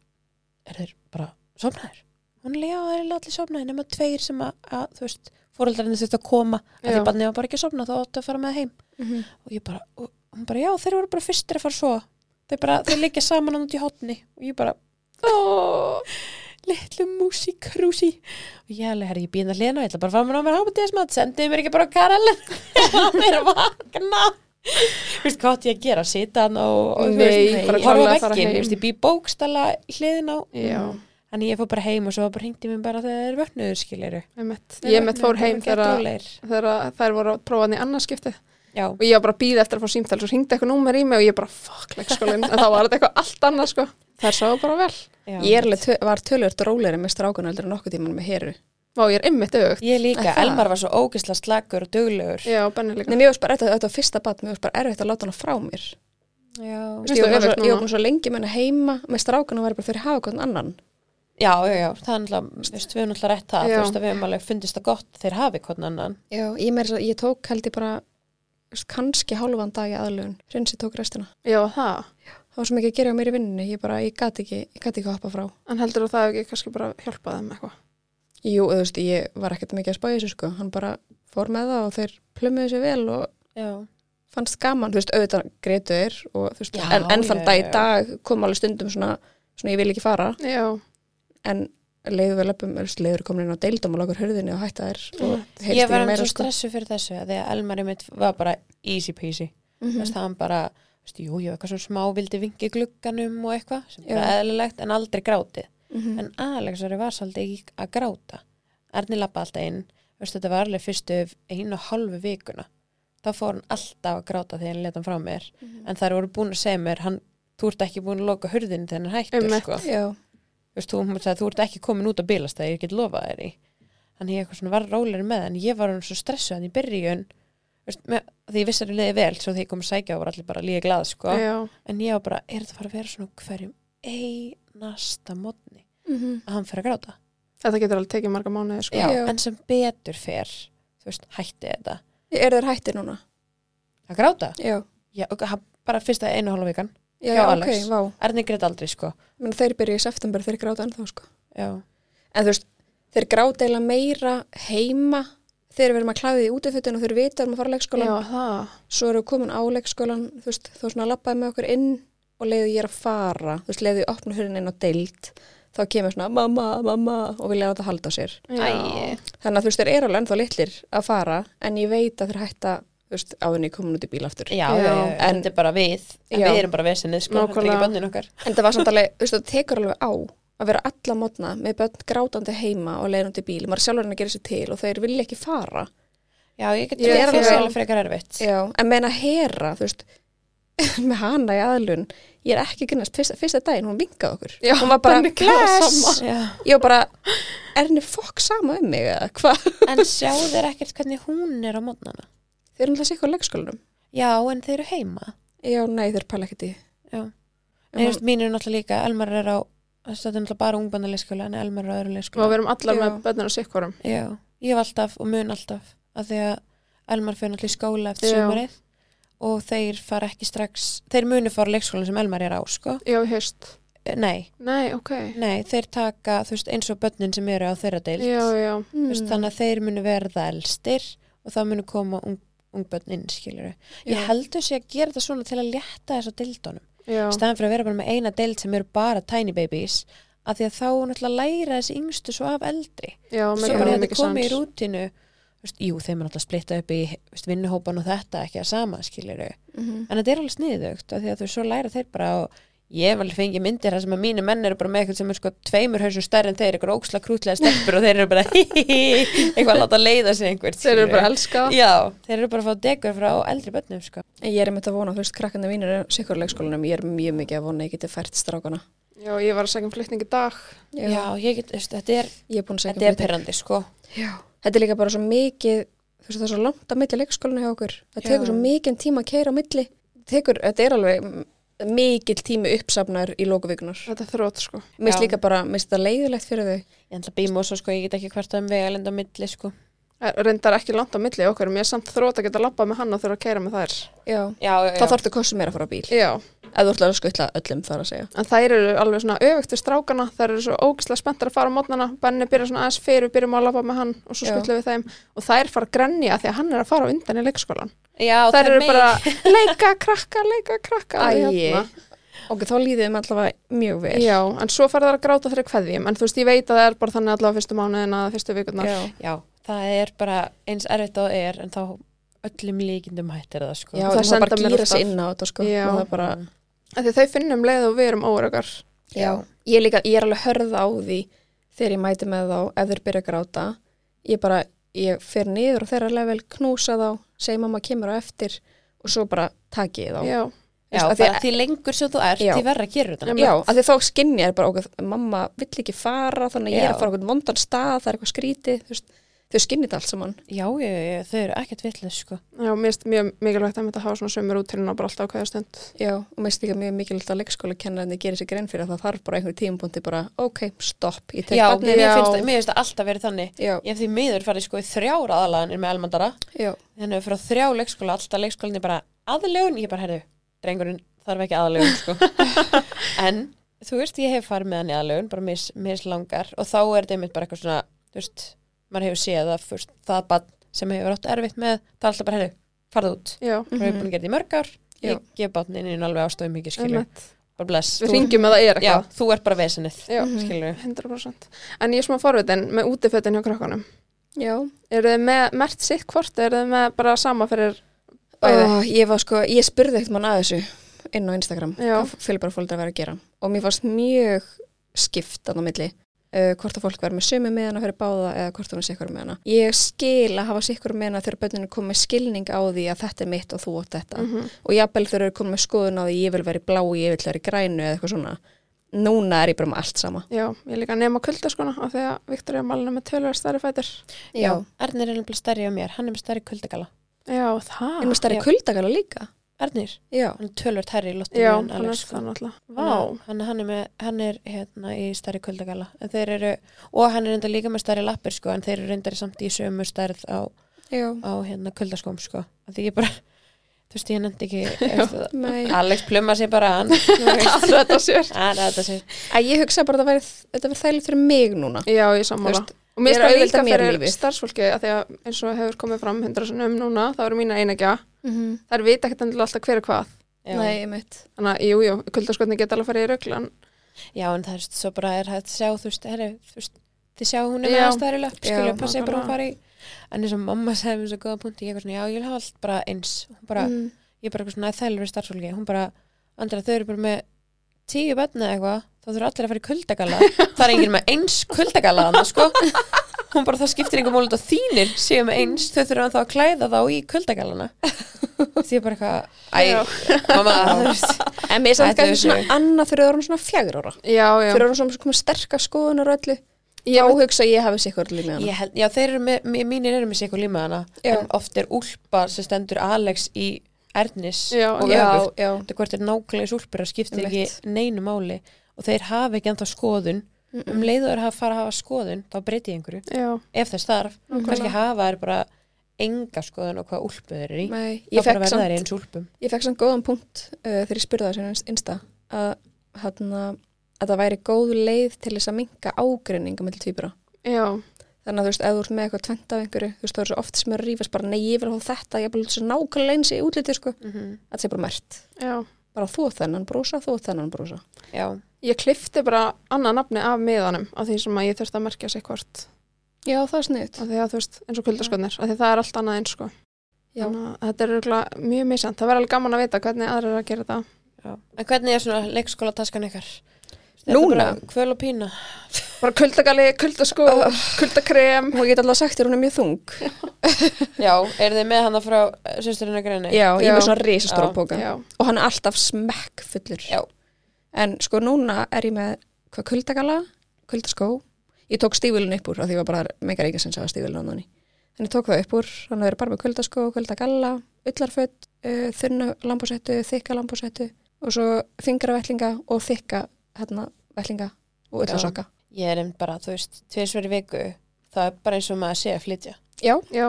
[SPEAKER 1] er þeir bara sofnaðir? Hún er já, þeir eru allir sofnaðir nema tveir sem að, að þú veist fóreldrarnir þurft að koma, af því
[SPEAKER 3] Já.
[SPEAKER 1] barnið var bara ekki að sofna þá áttu að fara með heim
[SPEAKER 2] Mhm.
[SPEAKER 1] og ég bara, og hún bara, já, þeir voru bara fyrstir að fara svo þeir bara, þeir liggja saman út í hotni og ég bara, ó litlu músi krúsi og ég alveg, herri, ég býna hliðin og ég ætla bara að fara mér á mér hámatíðismat, sendið mér ekki bara á <laughs> Karel hann er vakna Þú veist hvað átti ég að gera, sita hann og, og þú
[SPEAKER 3] Nei,
[SPEAKER 1] veist,
[SPEAKER 3] bara
[SPEAKER 1] horfa
[SPEAKER 3] klárlega
[SPEAKER 1] á
[SPEAKER 3] að fara
[SPEAKER 1] vegginn,
[SPEAKER 3] heim.
[SPEAKER 1] Þú veist, ég bý bókstala hliðin á
[SPEAKER 3] Já,
[SPEAKER 1] en ég fór bara heim og svo bara hringdi mér bara þegar þeir vöknuður skiliru
[SPEAKER 3] einmitt. Ég mitt fór heim þegar þegar þær voru að prófa hann í annarskipti
[SPEAKER 1] Já,
[SPEAKER 3] og ég var bara að býða eftir að fá símtæl svo hringdi eitthvað númer í mig og ég bara fuck leikskólinn en þá var þetta eitthvað allt annað sko þær sáu bara vel
[SPEAKER 1] já.
[SPEAKER 2] Ég er alveg tö- var tölvört rólegri með strákunöldur en nokkuð tíman með heru.
[SPEAKER 3] Vá, ég er ymmið dögt
[SPEAKER 1] Ég líka,
[SPEAKER 2] Er það?
[SPEAKER 1] Elmar var svo ógisla slagur og duglegur
[SPEAKER 3] Já, Benni líka
[SPEAKER 2] Nei, mér varst bara erfitt að þetta var fyrsta bat, mér varst bara erfitt að láta hana frá mér.
[SPEAKER 1] Já,
[SPEAKER 2] Vist, ég
[SPEAKER 3] Finnst
[SPEAKER 2] var
[SPEAKER 3] þú
[SPEAKER 2] bara
[SPEAKER 3] öfugt
[SPEAKER 2] svo- ég var
[SPEAKER 3] núna?
[SPEAKER 2] búin svo lengi með hana heima með strákunum og væri bara fyrir að hafa hvern annan.
[SPEAKER 1] já, já, já, það er náttúrulega, þú veist, við erum náttúrulega rétt það,
[SPEAKER 3] Já.
[SPEAKER 1] þú veist að við erum alveg fundist það gott þeir hafi hvern annan.
[SPEAKER 2] Já, ég, meira svo, ég tók held ég bara þú veist, kannski hálfan dag í aðlögun. Hrensi tók restina.
[SPEAKER 3] Já, það
[SPEAKER 2] Það var svo mikið að gera á mér í vinnunni, ég bara, ég gati ekki, ég gati ekki að hoppa frá.
[SPEAKER 3] En heldur þú það ekki kannski bara hjálpa þeim eitthvað
[SPEAKER 2] Jú, þú veist, ég var ekkert mikið að spá í þessu sko, hann bara fór með það og þeir plömmuðu sér vel og
[SPEAKER 1] Já.
[SPEAKER 2] fannst gaman, þú veist, auðvitað greitu er og þú veist,
[SPEAKER 1] Já,
[SPEAKER 2] en, en þann
[SPEAKER 1] já,
[SPEAKER 2] dag í
[SPEAKER 1] já.
[SPEAKER 2] dag kom alveg stundum svona, svona ég vil ekki fara,
[SPEAKER 3] Já,
[SPEAKER 2] en leiður við löpum, leiður komin inn á deildum og lagur hurðinni og hætta þær og
[SPEAKER 1] Ég var
[SPEAKER 2] heilst ekki
[SPEAKER 1] hann
[SPEAKER 2] meira
[SPEAKER 1] svo
[SPEAKER 2] sko.
[SPEAKER 1] stressu fyrir þessu að því að Elmar mitt var bara easy peasy.
[SPEAKER 2] Mm
[SPEAKER 1] Þú veist, hann bara, þú veist, jú, jú, eitthvað svona smá vildi vingi glugganum og eitthvað sem
[SPEAKER 2] Já.
[SPEAKER 1] bara eðlilegt en aldrei grátið.
[SPEAKER 2] -hmm.
[SPEAKER 1] En Alexari var svolítið ekki að gráta. Erni lappa alltaf inn, þú veist, þetta var alveg fyrstu einu og hálfu vikuna. Þá fór hann alltaf að gráta þegar hann leta hann frá mér.
[SPEAKER 3] Mhm.
[SPEAKER 1] En þær voru búin að segja mér, hann, þú ert ekki búin að loka hurðinu þegar hann er hættur,
[SPEAKER 3] Einmitt.
[SPEAKER 1] sko.
[SPEAKER 2] Já,
[SPEAKER 1] þú veist, þú, hún sagði, þú ert ekki komin út að bilast það, ég get lofað þér í þannig ég eitthvað svona var rólegri með en ég var hann svo stressuð hann í byrjun þú veist, með, því ég vissi að það leði vel svo því ég kom að sækja og var allir bara líka glað sko.
[SPEAKER 3] já,
[SPEAKER 1] en ég var bara, er þetta fara að vera svona á hverjum einasta mótni að hann fer að gráta
[SPEAKER 3] þetta getur alveg tekið marga mánuði sko
[SPEAKER 2] Já.
[SPEAKER 1] en sem betur fer þú veist, hætti þetta
[SPEAKER 2] er þeir hætti núna?
[SPEAKER 1] að gráta
[SPEAKER 2] Já,
[SPEAKER 1] Já, og hann bara fyrsta einu og hálfa vikan
[SPEAKER 2] já,
[SPEAKER 1] Já,
[SPEAKER 2] já ok,
[SPEAKER 1] Alex.
[SPEAKER 2] vá.
[SPEAKER 1] Erni greit aldrei sko
[SPEAKER 2] Men þeir byrja í september, þeir gráta ennþá sko.
[SPEAKER 1] Já,
[SPEAKER 2] En þú veist, þeir gráta eiginlega meira heima þegar við erum að klæði í útifötun og þeir vita um að fara á leikskólan.
[SPEAKER 3] Já, það
[SPEAKER 2] svo erum við komin á leikskólan þú veist, þá svona lappaði með okkur inn og leiði ég er að fara, þú veist, leiði ég opna hurðin inn á deild, þá kemur svona mamma, mamma og vilja láta halda á sér
[SPEAKER 3] Já,
[SPEAKER 2] þannig að þú veist, þeir eru alveg ennþá litlir að fara, en ég veit að þeir hætta þú veist, áðunni komin út í bíl aftur
[SPEAKER 1] já, já, já,
[SPEAKER 3] Já.
[SPEAKER 1] en þetta er bara við en
[SPEAKER 2] Já.
[SPEAKER 1] við erum bara vesinnið sko, þetta er
[SPEAKER 3] Nákvæmlega.
[SPEAKER 1] ekki bönnin okkar
[SPEAKER 2] en það var samt alveg, þú veist, það tekur alveg á að vera alla mótna með börn grátandi heima og leiðin út í bíl, maður er sjálfur en að gera sér til og þeir vilja ekki fara
[SPEAKER 1] Já, ég get ég
[SPEAKER 3] Ég
[SPEAKER 1] er
[SPEAKER 2] er alveg-
[SPEAKER 1] alveg alveg frekar erfitt.
[SPEAKER 2] Já, en meina hera, þú veist <laughs> með hana í aðlun ég er ekki grunnast, fyrsta, fyrsta daginn hún vinkaði okkur
[SPEAKER 3] Já,
[SPEAKER 2] hún var bara,
[SPEAKER 3] Benni gerði það
[SPEAKER 2] bless
[SPEAKER 3] sama.
[SPEAKER 1] Já.
[SPEAKER 2] ég var bara, er henni fokk sama um mig eða hvað, <laughs>
[SPEAKER 1] En sjá þeir ekkert hvernig hún er á mótnana.
[SPEAKER 2] þeir eru alltaf sikkur á leikskólanum
[SPEAKER 1] Já, en þeir eru heima.
[SPEAKER 2] já, nei, þeir pæla ekkert í því.
[SPEAKER 1] Já. En
[SPEAKER 2] En
[SPEAKER 1] þú
[SPEAKER 2] hún-
[SPEAKER 1] veist, mín eru náttúrulega líka, Elmar er á, þetta er náttúrulega bara ungbændaleyskóla, en Elmar er á öðru
[SPEAKER 3] og við
[SPEAKER 1] leyskóla.
[SPEAKER 3] erum allar
[SPEAKER 2] Já.
[SPEAKER 3] með bönnir og sikkurum
[SPEAKER 1] Já, ég hef alltaf og mun alltaf, að því að Elmar fyrir náttúrulega í skóla eftir
[SPEAKER 3] Já.
[SPEAKER 1] sumarið og þeir fara ekki strax, þeir munu fara á leikskólan sem Elmar er á, sko.
[SPEAKER 3] Já, í haust
[SPEAKER 1] Eh, Nei,
[SPEAKER 3] Nei, ok
[SPEAKER 1] nei, þeir taka, þú veist, eins og börnin sem eru á þeirra deild.
[SPEAKER 3] Já, já,
[SPEAKER 1] Þú
[SPEAKER 2] Hmm.
[SPEAKER 1] veist, þannig að þeir munu verða elstir og það munu koma ung, ungbönn inn skilur
[SPEAKER 2] Já.
[SPEAKER 1] ég heldur sé að gera þetta svona til að létta þess að deildunum
[SPEAKER 3] já
[SPEAKER 1] staðan fyrir að vera bara með eina deild sem eru bara tiny babies af því að þá náttúrulega læra þessi yngstu svo af eldri
[SPEAKER 3] Já,
[SPEAKER 1] svo
[SPEAKER 3] mikið
[SPEAKER 1] bara þetta
[SPEAKER 3] alveg mikið
[SPEAKER 1] komið í
[SPEAKER 3] sans
[SPEAKER 1] rútinu þú veist, jú, þeim er náttúrulega splitta upp í þú veist, vinnuhópan og þetta ekki að sama skilur
[SPEAKER 2] Mhm.
[SPEAKER 1] en þetta er alveg sniðugt af því að þau svo læra þeir bara og ég hef alveg fengið myndir þar sem að mínu menn eru bara með eitthvað sem er sko tveimur hausum stærri en þeir eitthvað óksla krútlega stelpur og þeir eru bara <laughs> eitthvað að láta leiða sig einhvert
[SPEAKER 3] Þeir eru
[SPEAKER 1] skilurðu.
[SPEAKER 3] bara að elska það.
[SPEAKER 1] Já, þeir eru bara að fá degur frá eldri börnum sko.
[SPEAKER 2] en ég er einmitt að vona, þú veist, krakkandi mínir er sikkur á leikskólanum, ég er mjög mikið að vona að ég geti fært strákana
[SPEAKER 3] Já, ég var að segja um flytning í dag
[SPEAKER 1] Já, ég get, þú veist, þetta er,
[SPEAKER 2] ég er búin að segja
[SPEAKER 1] þetta er perrandi sko.
[SPEAKER 2] Já. Þetta er líka bara svo mikið, þú veist það er svo langt að milli leikskólinu hjá okkur. Það
[SPEAKER 1] Já.
[SPEAKER 2] tekur svo mikið tíma að keira á milli. Tekur, þetta er alveg m- mikill tími uppsafnar í lókuvíkunar.
[SPEAKER 3] Þetta er þrótt, sko
[SPEAKER 2] Mér
[SPEAKER 1] Já.
[SPEAKER 2] finnst líka bara, mér finnst þetta leiðilegt fyrir þau.
[SPEAKER 1] Ég ætla að býma og svo sko, ég get ekki hvert að um vega lenda á milli sko.
[SPEAKER 3] Er- reyndar ekki langt á milli okkar, mér er samt þrótt að geta labbað með hann og þurfa að keira með þær.
[SPEAKER 2] Já.
[SPEAKER 1] já, já,
[SPEAKER 2] Þá þarftu kostu meira að fara á bíl.
[SPEAKER 3] Já,
[SPEAKER 2] Ef þú ætlar að skutla öllum þar að segja.
[SPEAKER 3] en þær eru alveg svona öfugt við strákana, þær eru svo ógislega spenntar að fara á mótnana, Benni byrjar svona aðeins fyrir, við byrjum að labba með hann og svo
[SPEAKER 2] Já.
[SPEAKER 3] skutlum við þeim og þær fara að grenja því að hann er að fara á undan í leikskólan.
[SPEAKER 1] já,
[SPEAKER 3] þær
[SPEAKER 1] þær
[SPEAKER 3] eru
[SPEAKER 1] megi-
[SPEAKER 3] bara <laughs> leika, krakka, leika, krakka. alveg
[SPEAKER 1] Æi.
[SPEAKER 3] hérna.
[SPEAKER 2] Ok, þá líðum allavega mjög vel.
[SPEAKER 3] Já, en svo fara þær að gráta þeirra kveðjum, en þú veist, ég veit að það er bara þannig allavega fyrstu mánuðina, fyrstu vikundar.
[SPEAKER 2] Já.
[SPEAKER 1] já, það er bara eins erfitt og er en þá öllum líkindum hættir það sko
[SPEAKER 2] Já, það,
[SPEAKER 3] Það
[SPEAKER 2] það
[SPEAKER 3] senda
[SPEAKER 2] bara
[SPEAKER 3] mér
[SPEAKER 2] gýra
[SPEAKER 3] alltaf.
[SPEAKER 2] sig inn á þetta sko
[SPEAKER 3] Já.
[SPEAKER 2] og það bara,
[SPEAKER 3] Af því Þau finnum leið og við erum óragar.
[SPEAKER 2] já. Ég, er líka, ég er alveg hörð á því þegar ég mæti með þá ef þeir byrja að gráta ég bara, ég fer niður og þeirra level knúsa þá, segi mamma kemur á eftir og svo bara taki ég þá
[SPEAKER 3] Já,
[SPEAKER 1] já
[SPEAKER 2] Af því
[SPEAKER 1] bara
[SPEAKER 2] að-
[SPEAKER 1] því lengur sem þú ert,
[SPEAKER 2] Já.
[SPEAKER 1] því verra að gera þetta
[SPEAKER 2] Já, af því þá skinn ég er bara okkur, mamma vill ekki fara þannig að ég er
[SPEAKER 1] Já.
[SPEAKER 2] að fara okkur vondan stað, það er eitthvað skrítið þú veist, þau skinnir þetta allt saman
[SPEAKER 1] já, já, já, þau eru ekkert vitlega sko
[SPEAKER 3] já, mér finnst mjög mikilvægt að þetta hafa svona sömur út til bara alltaf á hverja stund.
[SPEAKER 2] Já, og mér finnst líka mjög mikilvægt að leikskóla kennarinn gerir sér grein fyrir að það þarf bara einhver tímapunkti bara, ok, stopp, ég tek
[SPEAKER 1] já,
[SPEAKER 2] barnið-
[SPEAKER 1] mér
[SPEAKER 3] já.
[SPEAKER 1] finnst það, mér finnst það alltaf verið þannig
[SPEAKER 2] já,
[SPEAKER 1] ég hef því miður farið sko í þrjár aðalaganir með elmandara
[SPEAKER 2] já,
[SPEAKER 1] þannig að frá þrjá leikskóla, alltaf leikskólinni bara aðlögun, ég bara herðu, drengurinn þarf ekki aðlögun sko
[SPEAKER 3] <laughs>
[SPEAKER 1] en þú veist, ég hef farið með hann í aðlögun bara mis, mislangar og þá er þetta einmitt bara eitthvað svona, þú veist, maður hefur séð að fyrst, það bann sem hefur átt erfitt með, það er alltaf bara herðu, farð út
[SPEAKER 3] Já,
[SPEAKER 1] mm -hmm. hefur búin að gera þetta í mörg ár
[SPEAKER 2] Já.
[SPEAKER 1] ég gef bátnin inn alveg ástofið mikið skilur,
[SPEAKER 3] einmitt.
[SPEAKER 1] bara bless
[SPEAKER 3] Við
[SPEAKER 1] þú,
[SPEAKER 3] ringjum að það er
[SPEAKER 1] já,
[SPEAKER 3] eitthvað.
[SPEAKER 1] þú ert bara vesenið,
[SPEAKER 3] Já. Mhm.
[SPEAKER 1] skilur
[SPEAKER 3] 100%. En ég er smá forvitin með útifötin hjá krakkanum.
[SPEAKER 2] já.
[SPEAKER 3] Eru þið með mert sitt hvort, eru þið með bara sama fyrir bæði?
[SPEAKER 2] Ó, ég var sko, ég spurði eitt mann að þessu inn á Instagram,
[SPEAKER 3] Já.
[SPEAKER 2] hvað fjölbara fólk að vera að gera og mér fannst mjög skipt þannig á milli, uh, hvort að fólk verður með sömu með hana fyrir báða eða hvort hún er sikkur með hana ég skil að hafa sikkur með hana þegar bönninu kom með skilning á því að þetta er mitt og þú átt þetta
[SPEAKER 3] Mhm.
[SPEAKER 2] og jafnvel þegar eru komið með skoðun á því ég vil vera í blá, ég vil vera í grænu eða eitthvað svona núna er ég bara með allt sama
[SPEAKER 3] Já, ég er líka að nema kuldaskona af því að Viktoria Malina með tölver stærri fætur.
[SPEAKER 2] Já.
[SPEAKER 1] Arnir er nefnilega stærri á mér, hann er með stærri kuldagala
[SPEAKER 3] Já, það.
[SPEAKER 2] er með stærri
[SPEAKER 1] já.
[SPEAKER 2] kuldagala líka
[SPEAKER 1] Arnir,
[SPEAKER 2] já,
[SPEAKER 1] hann er tölvert herri í lottinu
[SPEAKER 3] Já,
[SPEAKER 1] en
[SPEAKER 3] hann er
[SPEAKER 1] Alex, sko.
[SPEAKER 3] það náttúrulega. Vá.
[SPEAKER 1] Hann, hann, hann, er með, hann er hérna í stærri kuldagala En þeir eru, og hann er reyndar líka með stærri lappir sko, en þeir eru reyndar samt í sömu stærð á,
[SPEAKER 2] já,
[SPEAKER 1] á hérna kuldaskóm sko. Af því ég bara, þú veist ég nefndi
[SPEAKER 3] <laughs>
[SPEAKER 1] ekki veist það.
[SPEAKER 2] nei
[SPEAKER 1] Alex plumma sér bara hann hann
[SPEAKER 3] Þetta sér.
[SPEAKER 1] er þetta sér
[SPEAKER 2] að ég hugsa bara að það væri- þetta verður þægilegt fyrir mig núna
[SPEAKER 3] Já, ég sammála.
[SPEAKER 2] Þú veist,
[SPEAKER 3] Og mér
[SPEAKER 2] ég er
[SPEAKER 3] er
[SPEAKER 2] að
[SPEAKER 3] það
[SPEAKER 2] auðvelda
[SPEAKER 3] líka
[SPEAKER 2] mér
[SPEAKER 3] fyrir
[SPEAKER 2] lífið.
[SPEAKER 3] starfsfólki af því að eins og hefur komið fram hundra sinnum núna, það eru mína einegja.
[SPEAKER 2] mm -hmm.
[SPEAKER 3] Þær vita ekkert endilega alltaf hver er hvað.
[SPEAKER 1] já.
[SPEAKER 2] nei, mitt
[SPEAKER 3] Þannig að, jú, jú, kuldaskotni geta alveg að fara í röglan.
[SPEAKER 1] já, en það er svo bara er hægt að sjá þú veist, herri, þú veist þið sjá hún er
[SPEAKER 3] Já.
[SPEAKER 1] með að stærri löp
[SPEAKER 2] Já,
[SPEAKER 1] skilja, passa ég bara að
[SPEAKER 3] nákvæmlega.
[SPEAKER 1] hún fari í en eins og mamma sagði mér svo góða punkti ég eitthvað svona, já, ég vil hafa allt bara eins hún bara,
[SPEAKER 2] mm.
[SPEAKER 1] ég bara eitthvað svona þælur við starfsfólki hún bara, andra þau eru bara með tíu bönni eða eitthvað, þá þurfa allir að fara í kuldagalla það er enginn með eins kuldagalla hann, sko. hún bara það skiptir einhver mólund og þínir séu með eins, þau þurfa þá að klæða þá í kuldagallana því ég bara eitthvað, æ,
[SPEAKER 3] Já.
[SPEAKER 1] mamma þú veist,
[SPEAKER 2] en mér er
[SPEAKER 1] Þetta
[SPEAKER 2] samt
[SPEAKER 1] er
[SPEAKER 2] kannski svona
[SPEAKER 1] þessu.
[SPEAKER 2] annað þegar það vorum svona fjagur ára
[SPEAKER 3] Já, já.
[SPEAKER 2] þegar það vorum svona komið sterkar skoðunar og öllu
[SPEAKER 3] Já.
[SPEAKER 2] já, hugsa að ég hafi sikkur lífið hana
[SPEAKER 1] ég held, já þeir eru með, mér- mínir eru með sér eitthvað límaðana
[SPEAKER 2] Já.
[SPEAKER 1] en oft er úlpa sem stendur Alex í Ernis
[SPEAKER 3] Já,
[SPEAKER 1] og
[SPEAKER 2] já,
[SPEAKER 1] öfugt
[SPEAKER 2] já,
[SPEAKER 1] þetta hvort er nákvæmlega úlpur að skiptir ekki
[SPEAKER 2] Einmitt.
[SPEAKER 1] neinu máli og þeir hafa ekki ennþá skoðun um leiðu þeir hafa fara að hafa skoðun þá breyti ég einhverju,
[SPEAKER 3] Já,
[SPEAKER 1] ef þess þarf
[SPEAKER 2] Nákvæmlega.
[SPEAKER 1] kannski hafa er bara enga skoðun og hvað úlpu þeir eru í
[SPEAKER 2] Nei,
[SPEAKER 1] þá
[SPEAKER 2] ég
[SPEAKER 1] bara
[SPEAKER 2] fekk
[SPEAKER 1] verða þeir
[SPEAKER 2] samt
[SPEAKER 1] eins úlpum
[SPEAKER 2] Ég fekk samt góðan punkt uh, þegar ég spurði það sem einsta að, hana, að það væri góð leið til þess að minka ágreininga með tvíbura.
[SPEAKER 3] já,
[SPEAKER 2] Þannig að þú veist, ef þú ert með eitthvað tvent af einhverju, þú veist, þá er svo oft sem eru að rífast bara, nei, ég vil hafa þetta, ég vil hafa þessu nákvæmlega eins í útlitið, sko.
[SPEAKER 1] mm
[SPEAKER 2] Þetta sé bara mert.
[SPEAKER 3] já.
[SPEAKER 2] Bara þú átt þennan brosa, þú átt þennan brosa.
[SPEAKER 1] já,
[SPEAKER 3] Ég klifti bara annað nafni af miðanum af því sem að ég þurfti að merkja sig hvort
[SPEAKER 2] Já, það er sniðut.
[SPEAKER 3] af því að þú veist, eins og kuldaskotnir af því það er allt annað eins sko
[SPEAKER 2] Já.
[SPEAKER 3] Þannig að þetta er örugglega mjög misjant, það verður alveg gaman að vita hvernig aðrir eru að gera þetta
[SPEAKER 1] já en hvernig er svona leikskóla taskan ykkar?
[SPEAKER 2] Núna?
[SPEAKER 1] Kvöl og pína
[SPEAKER 3] bara kuldagali, kuldaskó, kuldakrem
[SPEAKER 2] Og ég get alltaf sagt þér hún er mjög þung.
[SPEAKER 1] <laughs> Já, eru þið með hana frá sýsturinn að greinu?
[SPEAKER 2] Já, ég
[SPEAKER 3] Já.
[SPEAKER 2] er með svona risastóra
[SPEAKER 1] Já.
[SPEAKER 2] póka.
[SPEAKER 3] Já,
[SPEAKER 2] Og hann er alltaf smekk fullur.
[SPEAKER 1] Já.
[SPEAKER 2] En sko núna er ég með hvað kuldagala, kuldaskó ég tók stífilin upp úr af því ég var bara megar ekki sem sagði stífilin á þannig en ég tók það upp úr, þannig að það eru bara með kuldaskó kuldagalla, ullarföt uh, þunna lambúsettu, þykka lambúsettu og svo fingravellinga og þykka hérna vellinga og ullarsokka
[SPEAKER 1] Ég er einn bara, þú veist, tvisveri viku það er bara eins og maður sé að flytja
[SPEAKER 2] Já,
[SPEAKER 3] já,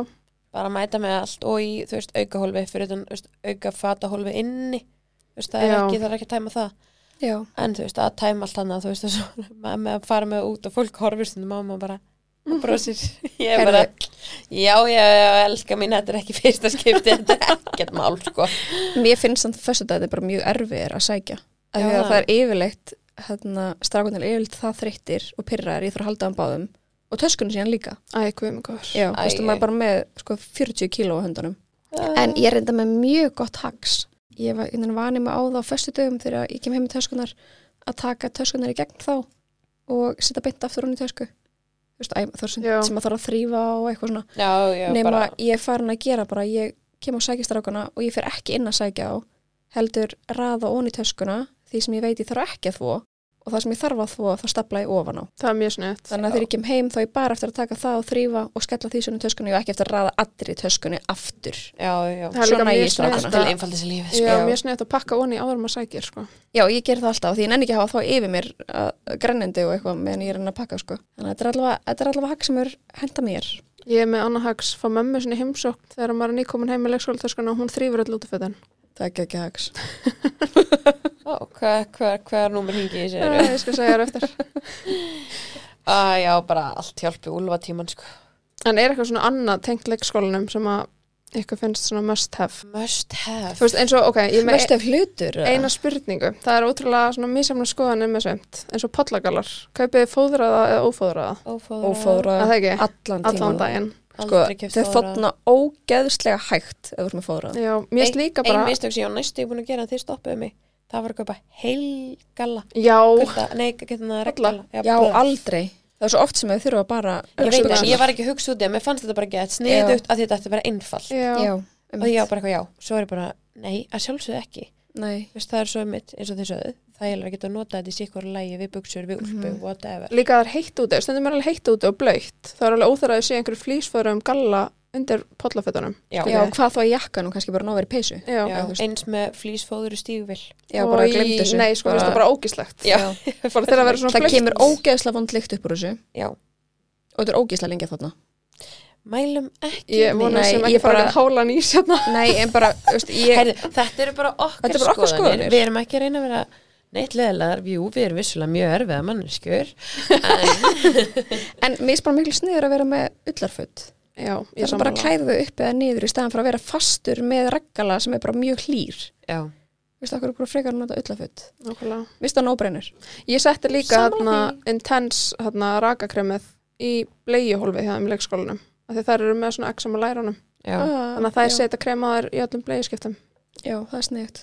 [SPEAKER 1] bara mæta með allt og í, þú veist, aukahólfi fyrir utan, þú veist, auka fatahólfi inni þú veist, það er
[SPEAKER 3] Já.
[SPEAKER 1] ekki, það er ekki að tæma það
[SPEAKER 2] já,
[SPEAKER 1] en þú veist, að tæma allt annað, þú veist og svo, ma- með að <laughs> fara með út og fólk horfir stundum á maður bara og brosir ég er bara, já, já, já, elska mín þetta er ekki fyrsta skipti, <laughs> þetta er ekkert mál sko,
[SPEAKER 2] mér finnst þannig fyrst að þetta er bara mjög erfiðir að sækja af því
[SPEAKER 1] Já.
[SPEAKER 2] að það er yfirleitt hérna, strákunir er yfirleitt það þreyttir og pyrrar, ég þarf að halda hann báðum og töskunni síðan líka
[SPEAKER 3] æ, hvað mig góður
[SPEAKER 2] já,
[SPEAKER 1] Æ,
[SPEAKER 2] veistu,
[SPEAKER 1] æ.
[SPEAKER 2] maður er bara með sko, 40 kíló á höndunum en ég er enda með mjög gott hags ég var innan vanið mig á það á föstu dögum þegar ég kem heim með töskunar að taka töskunar í gegn þá og setja beint aftur hún í tösku Þú veist, æ, það er sem,
[SPEAKER 3] Já.
[SPEAKER 2] sem að þarf að þrýfa og eitthvað svona
[SPEAKER 1] já, já,
[SPEAKER 2] nema
[SPEAKER 1] bara
[SPEAKER 2] ég er farin að gera bara ég kem á sækistrákana og ég fer ekki inn að sækja á heldur raða ón í töskuna því sem ég veit ég þarf ekki að þvó og það sem ég þarf að þvó þá stapla ég ofan á
[SPEAKER 3] það er mjög sniðt
[SPEAKER 2] þannig að þegar ég kem heim þá er ég bara eftir að taka það og þrýfa og skella því svona í töskunni og ekki eftir að raða allri í töskunni aftur
[SPEAKER 1] já, já,
[SPEAKER 3] það er
[SPEAKER 2] Svona
[SPEAKER 3] líka
[SPEAKER 2] í
[SPEAKER 3] mjög
[SPEAKER 2] strákana.
[SPEAKER 1] allt
[SPEAKER 3] sniðt
[SPEAKER 1] til
[SPEAKER 3] að
[SPEAKER 1] einfaldis í lífi sko.
[SPEAKER 3] Já,
[SPEAKER 2] Já.
[SPEAKER 3] mjög sniðt að pakka onni áður en maður sækir sko.
[SPEAKER 2] Já, ég ger það alltaf því ég nenni ekki að hafa þá yfir mér uh, grennandi og eitthvað meðan ég er enn að pakka sko. Þannig að þetta er allavega, þetta er allavega hakk sem er henda mér.
[SPEAKER 3] Ég er með Anna Hags fá mömmu sinni í heimsókn þegar maður er nýkomin heim með leikskólatöskuna og hún þrýfur öll útifötun.
[SPEAKER 2] Það er ekki ekki haks.
[SPEAKER 1] Ó, hvað, hvað, hvað er númer hingi í sér
[SPEAKER 3] Eh, Ég skal segja þér eftir.
[SPEAKER 1] að já, bara allt hjálpi úlfa tíman sko.
[SPEAKER 3] En er eitthvað svona annað tengt leikskólanum sem að ykkur finnst svona must have?
[SPEAKER 1] must have
[SPEAKER 3] Þú veist, eins og, ok, ég er með e-
[SPEAKER 2] Mestu af hlutur. eða?
[SPEAKER 3] eina spurningu. Það er ótrúlega svona mísamna skoðanir með sveimt. Eins og pollagalar. Kaupið þið fóðraða eða ófóðraða?
[SPEAKER 1] ófóðra,
[SPEAKER 2] og fóðra
[SPEAKER 3] Að það ekki?
[SPEAKER 2] allan tíman.
[SPEAKER 3] Allan daginn.
[SPEAKER 2] Sko,
[SPEAKER 1] aldrei keft
[SPEAKER 2] þau þóttna ógeðslega hægt ef þú ert með fóðrað.
[SPEAKER 3] Já, mér finnst líka
[SPEAKER 1] ein
[SPEAKER 3] bara...
[SPEAKER 1] mistök sem ég á næstu ég búin að gera en þeir stoppuðu mig það var að kaupa heilgalla
[SPEAKER 3] Já,
[SPEAKER 1] kulda, nei, getur það reglala
[SPEAKER 2] Já, aldrei. Það er svo oft sem þau þurfa bara
[SPEAKER 1] ég veit það,
[SPEAKER 2] buxurnar.
[SPEAKER 1] ég var ekki að hugsa út í það, mér fannst þetta bara gett sniðugt að þetta ætti að vera einfalt
[SPEAKER 3] já,
[SPEAKER 2] Já,
[SPEAKER 1] og ég var bara eitthvað já, svo er ég bara, nei, að sjálfsögðu ekki
[SPEAKER 2] Nei,
[SPEAKER 1] Vist, það er svo mitt, eins og þið sögðu það er að geta að nota þetta í sikkur lægi við buksur, við úlpu, whatever
[SPEAKER 3] líka það er heitt úti. Stundum er alveg heitt úti og blöytt. Það er alveg óþræðið að sé einhverju flýsfóðraðum um galla undir pollafötunum.
[SPEAKER 1] já,
[SPEAKER 2] já, hvað þá í jakkanum kannski bara nóveri peysu.
[SPEAKER 3] Já,
[SPEAKER 1] já,
[SPEAKER 2] þú veist.
[SPEAKER 1] eins með flýsfóður í stígvill
[SPEAKER 2] Já, bara
[SPEAKER 3] Og í-
[SPEAKER 2] glemt þessu.
[SPEAKER 3] Nei, sko, mér finnst það bara ógislegt.
[SPEAKER 1] Já.
[SPEAKER 3] Bara þegar að vera svona
[SPEAKER 2] Það
[SPEAKER 3] blautt.
[SPEAKER 2] kemur ógeðslega vond lykt upp úr þessu
[SPEAKER 1] já,
[SPEAKER 2] og þetta er ógeðslega lengi að þarna.
[SPEAKER 1] mælum ekki
[SPEAKER 3] Ég vona
[SPEAKER 2] Nei,
[SPEAKER 3] sem
[SPEAKER 2] ég
[SPEAKER 3] ekki fara
[SPEAKER 2] bara-
[SPEAKER 3] að hála nýs hérna.
[SPEAKER 2] Nei, en bara, þú veist, ég...
[SPEAKER 1] Heyrðu, þetta eru bara okkar,
[SPEAKER 2] Þetta eru bara okkar skoðanir.
[SPEAKER 1] Við erum ekki að reyna að vera neitt leðilegar, jú, við erum vissulega mjög erfiða manneskjur
[SPEAKER 2] En mér finnst bara miklu sniður að vera með ullarföld.
[SPEAKER 3] Já,
[SPEAKER 2] Það
[SPEAKER 3] ég
[SPEAKER 2] er bara
[SPEAKER 3] sammála.
[SPEAKER 2] að klæða þau upp eða niður í staðan fyrir að vera fastur með raggala sem er bara mjög hlýr.
[SPEAKER 1] Já,
[SPEAKER 2] Vistu, okkur er bara frekar að nota ullarföld.
[SPEAKER 3] Nákvæmlega.
[SPEAKER 2] Vistu það nóbrennur?
[SPEAKER 3] Ég setti líka
[SPEAKER 1] Sammála
[SPEAKER 3] hérna intense hérna rakakremið í bleiuhólfið hjá þeim í leikskólanum af því þær eru með svona exam á lærunum
[SPEAKER 1] já,
[SPEAKER 2] Ah,
[SPEAKER 3] þannig að þær setja kremaðar í öllum bleiuskiptum
[SPEAKER 2] Já, það er sniðut.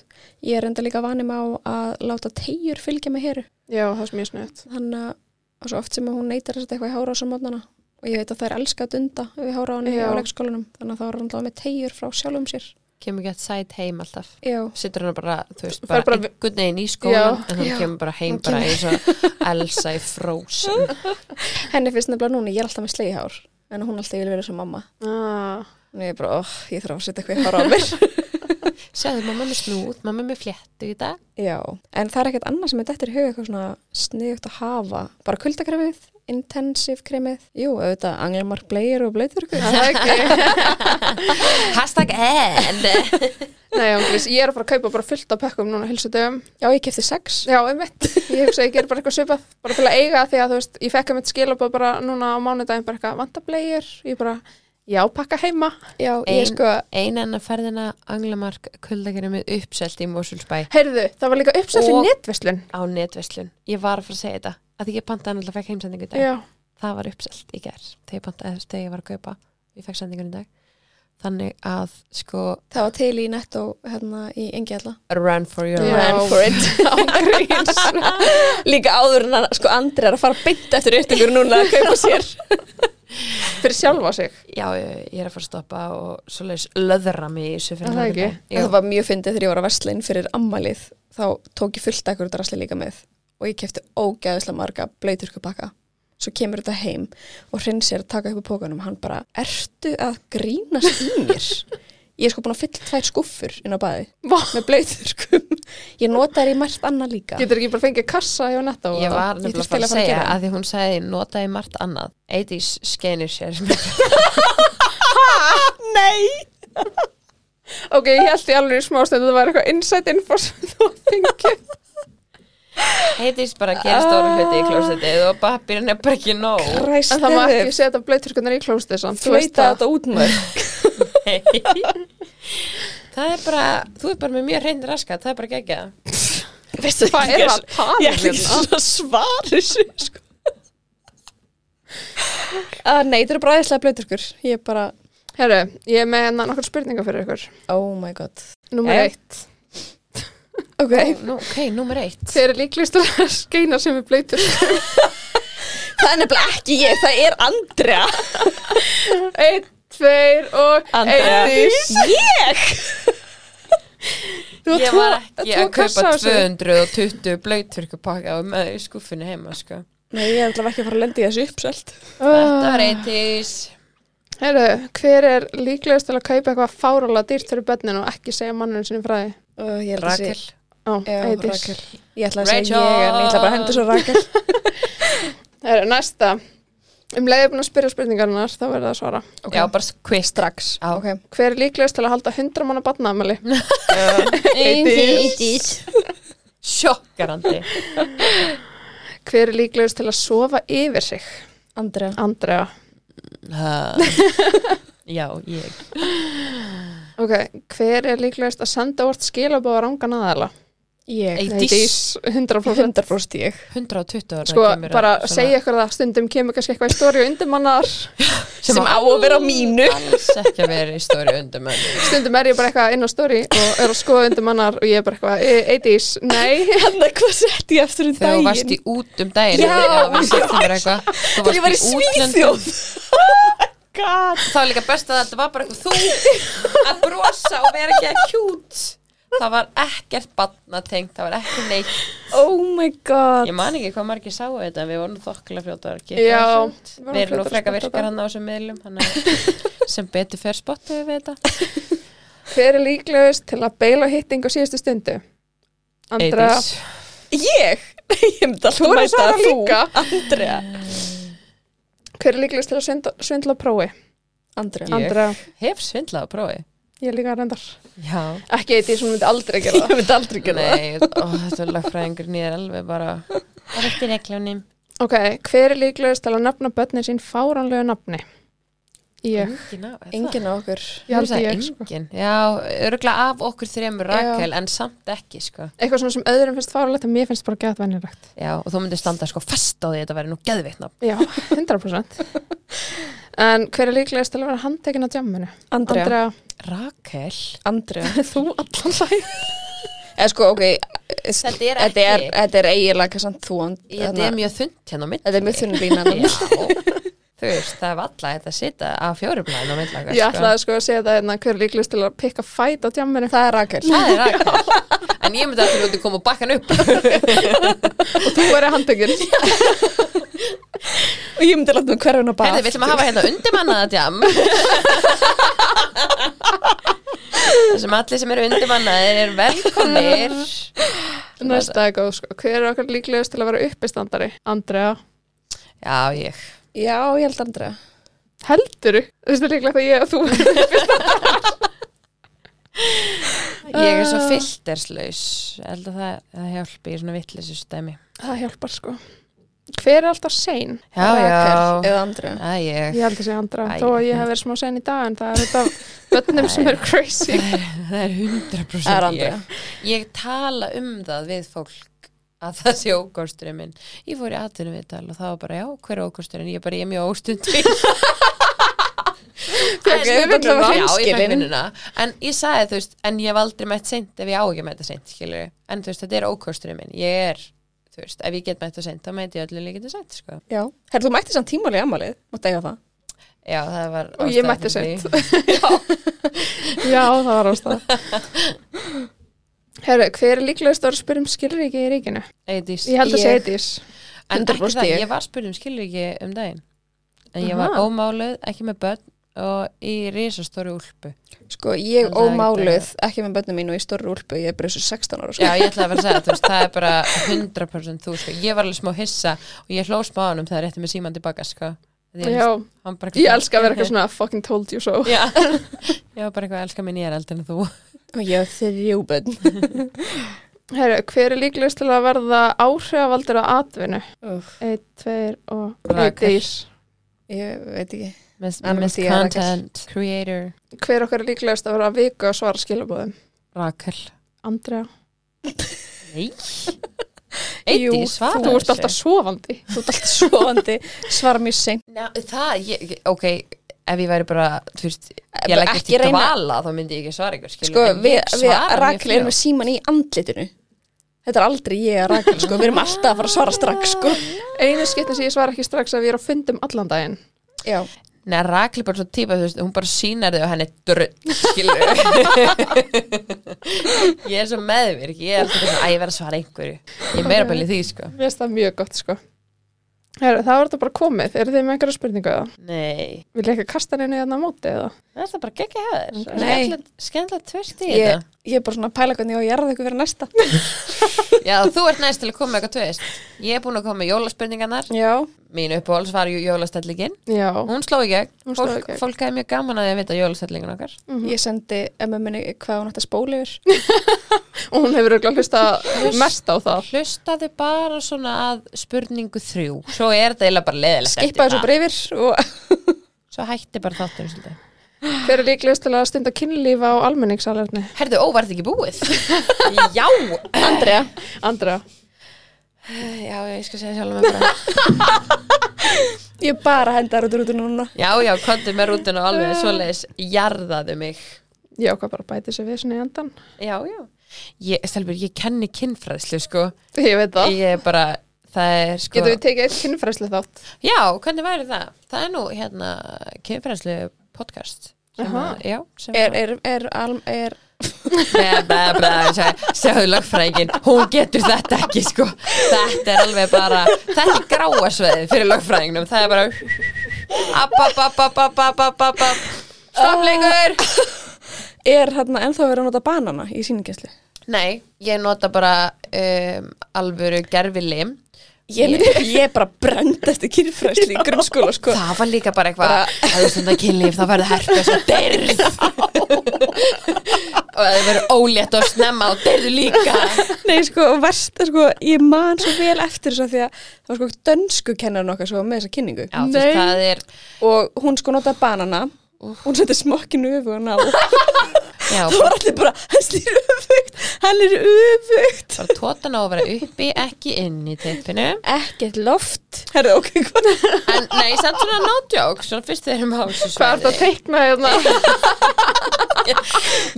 [SPEAKER 2] Ég er enda líka vanið mig á að láta tegjur fylgja með heru.
[SPEAKER 3] Já, það er mjög sniðt
[SPEAKER 2] Þannig að og svo oft sem að hún neytar að setja eitthvað í hára á mótnana og ég veit að það er elska að dunda við hára á henni
[SPEAKER 3] Já.
[SPEAKER 2] á leikskólanum þannig að það var alltaf með tegjur frá sjálfum sér
[SPEAKER 1] kemur ekki að sæt heim alltaf
[SPEAKER 2] Já,
[SPEAKER 1] Sittur hann bara, þú veist,
[SPEAKER 3] Fær
[SPEAKER 1] bara,
[SPEAKER 3] bara
[SPEAKER 1] bara
[SPEAKER 3] vi-
[SPEAKER 1] einhvern veginn í skólan
[SPEAKER 3] Já,
[SPEAKER 1] en hann
[SPEAKER 2] já.
[SPEAKER 1] kemur bara heim
[SPEAKER 2] Hann
[SPEAKER 1] bara
[SPEAKER 2] kemur-
[SPEAKER 1] eins og Elsa í Frozen
[SPEAKER 2] henni finnst nefnilega núna, ég er alltaf með slegihár en hún alltaf vil vera sem mamma
[SPEAKER 3] ah,
[SPEAKER 2] Nú ég bara, oh, ég þarf að setja eitthvað í hára á mér.
[SPEAKER 1] Segðu mamma er með snúð, mamma er með fléttu í dag
[SPEAKER 2] Já, en það er ekkert annað sem er dettur í huga eitthvað svona sniðugt að hafa. Bara kuldakremið, intensive kremið, jú, auðvitað, anglamark bleir og bleiðurku.
[SPEAKER 3] það er ekki
[SPEAKER 1] Hashtag end
[SPEAKER 3] Nei, ánglis, ég er að fara að kaupa bara fullt af pekkum núna hilsu dögum
[SPEAKER 2] Já, ég kefti sex.
[SPEAKER 3] Já, einmitt, <laughs> ég hugsa að ég ger bara eitthvað svipað bara til að eiga því að þú veist, ég fekk að mitt skilabóð bara núna á mánudaginn bara eitthvað vanda bleir, ég bara, já, pakka heima
[SPEAKER 2] Já, ég
[SPEAKER 1] Ein,
[SPEAKER 2] sko,
[SPEAKER 1] ein enn að ferðina Anglamark kuldakirjum með uppselt í Mosulsbæ
[SPEAKER 3] Heyrðu, það var líka uppsett í
[SPEAKER 1] Og-
[SPEAKER 3] netverslun
[SPEAKER 1] á netverslun Ég var að fara að segja þetta að því ég pantaði náttúrulega fekk heimsendingu í dag
[SPEAKER 3] Já,
[SPEAKER 1] það var uppselt í gerð þegar ég, pantaði, þegar ég var að kaupa ég fekk sendingun í dag þannig að sko
[SPEAKER 2] það var til í netto hérna í Engjalla.
[SPEAKER 1] run for your
[SPEAKER 3] Já.
[SPEAKER 1] life
[SPEAKER 2] for it,
[SPEAKER 3] <laughs>
[SPEAKER 2] ángríns. Líka áður en að, sko, Andri er að fara beint eftir upptökur núna að kaupa sér.
[SPEAKER 3] fyrir sjálfa sig
[SPEAKER 1] <laughs> já, ég, ég er að fara að stoppa og svoleiðis löðra mig í þessu fyrir
[SPEAKER 3] Er
[SPEAKER 1] hann
[SPEAKER 3] það
[SPEAKER 1] í
[SPEAKER 3] ekki?
[SPEAKER 1] dag.
[SPEAKER 2] Það
[SPEAKER 1] Jú.
[SPEAKER 2] var mjög fyndið þegar ég var að verslinn fyrir ammalið, þá tók ég fullt ekkur drasli líka með og ég kefti ógæðislega marga blöyturkupakka. Svo kemur þetta heim og hrins er að taka upp á pókanum, hann bara, ertu að grínast í mér? Ég er sko búin að fylla tvær skuffur inn á baði
[SPEAKER 3] Vá.
[SPEAKER 2] með blöyturkum. Ég nota þær í margt annað líka.
[SPEAKER 3] Getur ekki bara fengið kassa hjá netta
[SPEAKER 1] ég var
[SPEAKER 2] Ég
[SPEAKER 1] nefnilega
[SPEAKER 2] þurfti
[SPEAKER 1] að fara að
[SPEAKER 2] eiginlega að fara að
[SPEAKER 1] segja
[SPEAKER 2] gera það.
[SPEAKER 1] að því hún sagði notaði margt annað 80s skenir sér Nei!
[SPEAKER 3] ok, ég held í alveg í smástund að það var eitthvað inside info sem þú
[SPEAKER 1] <laughs>
[SPEAKER 3] fengið
[SPEAKER 1] Heitist bara að gera stóra hluti í klósetið og pappirinn er bara ekki nóg.
[SPEAKER 2] <laughs> Ræst
[SPEAKER 3] en það má ekki setja blöyturkunar í klóstið samt, þú veist
[SPEAKER 2] Flöyta
[SPEAKER 3] það
[SPEAKER 2] þetta út mörg.
[SPEAKER 1] Nei. það er bara, þú er bara með mjög hrein raskat, það er bara gegja.
[SPEAKER 2] <laughs> Veistu,
[SPEAKER 3] Hvað
[SPEAKER 2] ég
[SPEAKER 3] er það að tala
[SPEAKER 2] <laughs> Ég ætla ekki
[SPEAKER 3] hérna?
[SPEAKER 2] svona að svara þessu, sko. Uh, nei, þetta eru bara aðeinslega blöyturkur. Ég er bara,
[SPEAKER 3] Herru, ég er með hérna nokkur spurningar fyrir ykkur
[SPEAKER 2] oh my god.
[SPEAKER 3] Númer
[SPEAKER 2] Jæja.
[SPEAKER 1] Eh?
[SPEAKER 3] eitt
[SPEAKER 2] Ok.
[SPEAKER 1] Nú, ok, númer eitt.
[SPEAKER 3] Hver er líklegst að skeina sem er blöytur?
[SPEAKER 2] Það er nefnilega ekki ég, það er Andrea.
[SPEAKER 3] Einn, tveir og Eydís.
[SPEAKER 2] Ég?
[SPEAKER 3] Þú
[SPEAKER 1] Ég
[SPEAKER 3] tvo-
[SPEAKER 1] var ekki
[SPEAKER 3] tvo
[SPEAKER 1] að kaupa
[SPEAKER 3] kassa af þessu.
[SPEAKER 1] 220 blöyturkupakka með í skúffunni heima, sko.
[SPEAKER 2] Nei, ég er allavega ekki að fara að lenda í þessu uppselt.
[SPEAKER 1] Þetta var eittis.
[SPEAKER 3] Herru, Ah. hver er líklegast til að kaupa eitthvað fárala dýrt fyrir bönnin og ekki segja mannurinn sinni frá því?
[SPEAKER 2] Uh, ég held að
[SPEAKER 1] Rakel.
[SPEAKER 2] segja-
[SPEAKER 3] Ó,
[SPEAKER 2] Já,
[SPEAKER 3] Eydís.
[SPEAKER 2] Rakel. Ég ætla að segja
[SPEAKER 1] Rachel.
[SPEAKER 2] ég, en ég ætla bara að henda svo Rakel.
[SPEAKER 3] Herru, næsta. Um leiðið búin að spyrja spurningarnar, þá verður það að svara.
[SPEAKER 2] Ok.
[SPEAKER 1] Já, bara quiz strax. Á.
[SPEAKER 2] ok.
[SPEAKER 3] Hver er líklegast til að halda 100 manna barnaðamæli?
[SPEAKER 2] Eitís.
[SPEAKER 1] <laughs> Sjokkarandi.
[SPEAKER 3] Hver er líklegast til að sofa yfir sig?
[SPEAKER 2] Andrea.
[SPEAKER 3] Andrea.
[SPEAKER 1] Ha. Já, ég.
[SPEAKER 3] Ok, hver er líklegast að senda vort skilabóð á rangan aðala?
[SPEAKER 2] Ég.
[SPEAKER 1] Eydís.
[SPEAKER 3] Eydís, 100%.
[SPEAKER 2] 100% ég.
[SPEAKER 1] 120 ára
[SPEAKER 3] Sko,
[SPEAKER 1] kemur að
[SPEAKER 3] bara
[SPEAKER 1] svona-
[SPEAKER 3] segja ykkur það, stundum kemur kannski eitthvað í stóri og undirmannar,
[SPEAKER 1] sem,
[SPEAKER 2] sem á að vera á mínu.
[SPEAKER 1] alls ekki að vera í stóri undir mönnum
[SPEAKER 3] stundum er ég bara eitthvað inn á stóri og er að skoða undirmannar og ég er bara eitthvað, "E- Eydís, <laughs> nei,
[SPEAKER 2] Hanna, Hérna, hvað sett ég eftir um
[SPEAKER 1] þegar þú varst í út um daginn
[SPEAKER 2] Já.
[SPEAKER 1] við settum þér um eitthvað. Þú
[SPEAKER 2] Þegar ég var í
[SPEAKER 1] varst útlöndum.
[SPEAKER 2] Svíþjóð. God.
[SPEAKER 1] það var líka best að þetta var bara eitthvað þú að brosa og vera ekki að kjút það var ekkert batnatengt það var ekki neitt
[SPEAKER 2] Oh my god.
[SPEAKER 1] ég man ekki hvað margir sáu þetta en við vorum þokkilega fljóta að geta
[SPEAKER 3] Já,
[SPEAKER 1] þessu.
[SPEAKER 3] við vorum
[SPEAKER 1] við erum nú
[SPEAKER 3] fljótar að
[SPEAKER 1] freka
[SPEAKER 3] spotta þetta.
[SPEAKER 1] virkar hann á þessum miðlum hann að sem betur fer spottu við þetta
[SPEAKER 3] hver er líklegast til að beila hitting á síðustu stundu? Andra,
[SPEAKER 1] Eydís.
[SPEAKER 2] Ég? <laughs> Nei, ég myndi alltaf
[SPEAKER 3] Þú er að
[SPEAKER 2] mæta
[SPEAKER 3] svara
[SPEAKER 2] að þú.
[SPEAKER 3] líka.
[SPEAKER 2] Andrea.
[SPEAKER 3] hver er líklegast til að svindla, svindla á prófi?
[SPEAKER 2] Andrea.
[SPEAKER 1] Ég.
[SPEAKER 3] Andra,
[SPEAKER 1] hef svindlað á prófi
[SPEAKER 3] ég er líka reyndar.
[SPEAKER 1] já
[SPEAKER 3] Ekki Eydís, hún myndi aldrei gera það.
[SPEAKER 2] Ég myndi aldrei gera það.
[SPEAKER 1] Nei, ó, þetta er lagfræðingur nýjar alveg bara Það er eftir reglunum
[SPEAKER 3] Ok, hver er líklegast til að nefna börnin sín fáranlegu nafni? Ég,
[SPEAKER 1] Engin á, er það?
[SPEAKER 2] Engin á okkur.
[SPEAKER 3] ég held
[SPEAKER 1] Hugsa,
[SPEAKER 3] ég, sko.
[SPEAKER 1] engin, já, örgulega af okkur þremur Rakel, en samt ekki, sko
[SPEAKER 3] Eitthvað svona sem öðrum finnst fáralegt en mér finnst bara gett venjulegt.
[SPEAKER 1] Já, og þú myndir standa sko fast á því að þetta væri nú geðveitna
[SPEAKER 3] Já, 100% En hver er líklegast til að vera handtekinn á djamminu?
[SPEAKER 2] Andrea.
[SPEAKER 3] Andrea,
[SPEAKER 1] Rakel <laughs>
[SPEAKER 2] Andrea.
[SPEAKER 3] þú allan læg
[SPEAKER 2] Eða sko, ok. s-
[SPEAKER 1] Þetta er
[SPEAKER 2] Þetta er,
[SPEAKER 1] ekki.
[SPEAKER 2] þetta er eiginlega samt þú. and-
[SPEAKER 1] Þetta
[SPEAKER 2] þarna-
[SPEAKER 1] er mjög þund hérna á mitt
[SPEAKER 2] Þetta er mjög þunni
[SPEAKER 1] <laughs>
[SPEAKER 2] lína.
[SPEAKER 1] Já, þú veist, það er valla þetta að sita á fjórublæðin á mittlaga
[SPEAKER 3] Ég ætlaði sko að segja það hérna, hver er líklegast til að pikka fæt á djamminu
[SPEAKER 2] Það er Rakel.
[SPEAKER 1] Það er Rakel En ég myndi að þú koma og bakka hann upp
[SPEAKER 3] og þú verið handtekinn <laughs>
[SPEAKER 2] Og ég myndi alltaf hverfin á bað.
[SPEAKER 1] Herði, við ætlum að hafa hérna undirmannaða djam Þessum allir sem eru undirmannaðir er velkomnir
[SPEAKER 3] Næsta er góð sko Hver er okkar líklegast til að vera uppistandari? Andrea
[SPEAKER 1] Já, ég
[SPEAKER 2] Já, ég held Andrea.
[SPEAKER 3] Heldur Þú veist það líklegast að ég og þú verðum
[SPEAKER 1] Ég er svo filterslaus Ég held að það, það hjálpi í svona vitleysu stæmi
[SPEAKER 3] Það hjálpar sko Hver er alltaf sein?
[SPEAKER 1] Já,
[SPEAKER 2] Rakel
[SPEAKER 1] já
[SPEAKER 2] eða Andrea.
[SPEAKER 1] Það ég
[SPEAKER 3] Ég held að segja Andrea
[SPEAKER 1] Æ.
[SPEAKER 3] Þó að ég hef verið smá sein í dag en það er þetta bönnum sem er crazy
[SPEAKER 1] Það er
[SPEAKER 2] Það er
[SPEAKER 1] 100%
[SPEAKER 2] Andrea.
[SPEAKER 1] ég Ég tala um það við fólk að það sé ókosturinn minn Ég fór í atvinnum viðtal og það var bara já, hver er ókosturinn? Ég er bara, ég er mjög
[SPEAKER 3] <laughs>
[SPEAKER 1] óstundvík En-
[SPEAKER 2] Fékkstu
[SPEAKER 1] Já, ég
[SPEAKER 2] vinnuna?
[SPEAKER 1] fekk
[SPEAKER 2] Hreinskilin.
[SPEAKER 1] vinnuna. En ég sagði þú veist, en ég hef aldrei mætt seint ef ég á ekki að mæta seint, skilur En þú veist, þetta er ókosturinn minn, ég er þú veist, ef ég get mætt á seint, þá mæti ég öllu líkið seint, sko.
[SPEAKER 2] Já. Herðu, þú mætti samt tímali í amalið. Máttu eiga það.
[SPEAKER 1] Já, það var
[SPEAKER 3] Og ég
[SPEAKER 1] ástæðan
[SPEAKER 3] mætti
[SPEAKER 1] fyrir því.
[SPEAKER 3] Já, það var ástæða Herru, hver er líklegast að vera að spyrja um skilríki í ríkinu?
[SPEAKER 1] Eydís.
[SPEAKER 3] Ég held að
[SPEAKER 2] Ég.
[SPEAKER 3] segja Eydís
[SPEAKER 1] En ekki
[SPEAKER 2] 100%
[SPEAKER 1] það,
[SPEAKER 2] ég.
[SPEAKER 1] ég var spurning skilur ekki um daginn En ég var
[SPEAKER 3] Aha.
[SPEAKER 1] ómáluð, ekki með börn og í risastóri úlpu
[SPEAKER 2] Sko,
[SPEAKER 1] Það er
[SPEAKER 2] ég
[SPEAKER 1] ekki
[SPEAKER 2] ómáluð, ekki með bönnum mínu í stórri úlpu, ég er bara þessu 16 ára, sko.
[SPEAKER 1] Já, ég ætlaði að vera að segja, þú veist, það er bara 100% þú, sko Ég var alveg smá hissa og ég hló smá á honum þegar rétti með síman tilbaka, sko Því
[SPEAKER 3] Já,
[SPEAKER 1] hann bara-
[SPEAKER 3] ég elska að vera eitthvað svona fucking told you so.
[SPEAKER 1] <laughs> Já, ég var bara eitthvað að elska minn ég er eldin en þú
[SPEAKER 2] Og ég á þrjú <laughs> bönn.
[SPEAKER 3] Herru, hver er líklegust til að verða áhrifavaldur á atvinnu? Eitt, tveir og eitt
[SPEAKER 1] Rakel.
[SPEAKER 3] dýr.
[SPEAKER 2] Ég veit ekki.
[SPEAKER 1] Miss,
[SPEAKER 2] Anna
[SPEAKER 1] miss
[SPEAKER 2] Matthía Rakel.
[SPEAKER 1] Content Creator
[SPEAKER 3] Hver okkar er líklegust að vera að vika og svara skilabóðum?
[SPEAKER 1] Rakel
[SPEAKER 3] Andrea.
[SPEAKER 1] Nei
[SPEAKER 2] Jú,
[SPEAKER 1] Eitt í svara
[SPEAKER 3] Þú ert alltaf sofandi.
[SPEAKER 2] Þú ert alltaf svovandi, svara mjög seint.
[SPEAKER 1] Ná, það, ég, ég- ok, ef ég væri bara, þú veist, ég leggist í dvala, þá myndi ég ekki svara ykkur, skilur.
[SPEAKER 2] Sko,
[SPEAKER 1] en ég
[SPEAKER 2] við, við
[SPEAKER 1] svara mjög
[SPEAKER 2] Rakel erum
[SPEAKER 1] fljótt.
[SPEAKER 2] með síman í andlitinu. Þetta er aldrei ég að Rakel, sko. Við erum alltaf að fara að svara strax, sko.
[SPEAKER 3] Einu skiptin sem ég svara ekki strax að ég er á fundum allan daginn.
[SPEAKER 2] Já.
[SPEAKER 1] Nei, Rakel er bara svo típa, þú veist, hún bara sínar þig og henni drull, skilur. <laughs> ég er svo meðvirk, ég er alltaf þess að ég verð að svara einhverju. Ég er meira bara í því, sko.
[SPEAKER 3] Mér finnst það mjög gott sko Heru, Það var þetta bara komið, eru þið með einhverja spurningu eða?
[SPEAKER 1] Nei,
[SPEAKER 3] Vil ég ekki kasta henni þarna á móti eða?
[SPEAKER 1] það er það bara gegn ekki hefur.
[SPEAKER 2] Nei.
[SPEAKER 1] Skemmtilegt tvist í
[SPEAKER 2] Ég,
[SPEAKER 1] þetta.
[SPEAKER 2] ég er bara svona að pæla hvernig ég á að jarða ykkur fyrir næsta.
[SPEAKER 1] Já, þú ert næst til að koma með eitthvað tvist. Ég er búin að koma með jólaspurningarnar.
[SPEAKER 2] Já.
[SPEAKER 1] Mín uppáhalds var jú- jólastellingin.
[SPEAKER 3] Já,
[SPEAKER 1] Hún sló í gegn.
[SPEAKER 3] Hún sló í
[SPEAKER 1] Fólk,
[SPEAKER 3] gegn.
[SPEAKER 1] fólk hefði mjög gaman að því að vita jólastellingun okkar.
[SPEAKER 2] Ég sendi ömmuminni hvað hún átti að spóla <laughs> yfir.
[SPEAKER 3] og hún hefur örugglega hlusta
[SPEAKER 1] Hlust-
[SPEAKER 3] mest á það
[SPEAKER 1] Hlustaði bara svona að spurningu þrjú. Svo er þetta eiginlega bara leðilegt.
[SPEAKER 2] Skipaði svo bara yfir og...
[SPEAKER 1] Svo hætti bara þátturinn svolítið.
[SPEAKER 3] Hver er líklegust til að stunda kynlífa á almenningsalerni?
[SPEAKER 1] Herðu, ó, var þetta ekki búið? <laughs> já!
[SPEAKER 3] <laughs>
[SPEAKER 2] Andrea.
[SPEAKER 3] Andra,
[SPEAKER 1] Já, ég skal segja sjálf með bara.
[SPEAKER 2] Ég er bara að henda þær út úr út núna.
[SPEAKER 1] Já, já, komdu með rútuna og alveg svoleiðis. Jarðaðu mig.
[SPEAKER 3] ég ákvað bara að bæti sér við svona í endan
[SPEAKER 1] Já, já. Ég, Stelbur, ég kenni kynfræðslu, sko.
[SPEAKER 3] Ég veit það
[SPEAKER 1] Ég er bara, það er sko...
[SPEAKER 3] Getum við tekið eitt kynfræslu þátt?
[SPEAKER 1] Já, hvernig væri það? Það er nú, hérna, kynfræðslu podcast. sem
[SPEAKER 3] Aha.
[SPEAKER 1] að- Já, sem
[SPEAKER 2] Er, er, er, alm, er,
[SPEAKER 1] Bæ, bæ, bæ, sagði- sagði lögfræðingin hún getur þetta ekki sko þetta er alveg bara þetta er gráasveið fyrir lögfræðingnum það er bara app, app, app, app, app, app, app, app, app stafleikur
[SPEAKER 2] er hérna ennþá verið að nota banana í síningenslu?
[SPEAKER 1] nei, ég nota bara um, alvöru gerfilim
[SPEAKER 2] Ég, <laughs> ég er bara brend eftir kynfræsli í grunnskóla, sko.
[SPEAKER 1] það var líka bara eitthvað að þú stundar kynlíf þá verður herpes og dyrð og að þið verður ólétt og snemma og dyrðu líka
[SPEAKER 2] Nei, sko, og verst, er, sko, ég man svo vel eftir þess að því að það var sko dönsku kennarinn okkar svo með þessa kynningu
[SPEAKER 1] já, þú veist, það er
[SPEAKER 2] og hún sko notaði banana hún setti smokkinu öfugan á og
[SPEAKER 1] já,
[SPEAKER 2] það var allir bara, hann slýr öfugt hann er öfugt
[SPEAKER 1] bara tótan á að vera uppi, ekki inn í teipinu
[SPEAKER 2] ekkert loft herru, ok, hvað <laughs>
[SPEAKER 1] En nei, samt svona nátjók, svona fyrst þeir eru máls
[SPEAKER 3] Hvað er það að teikna hérna?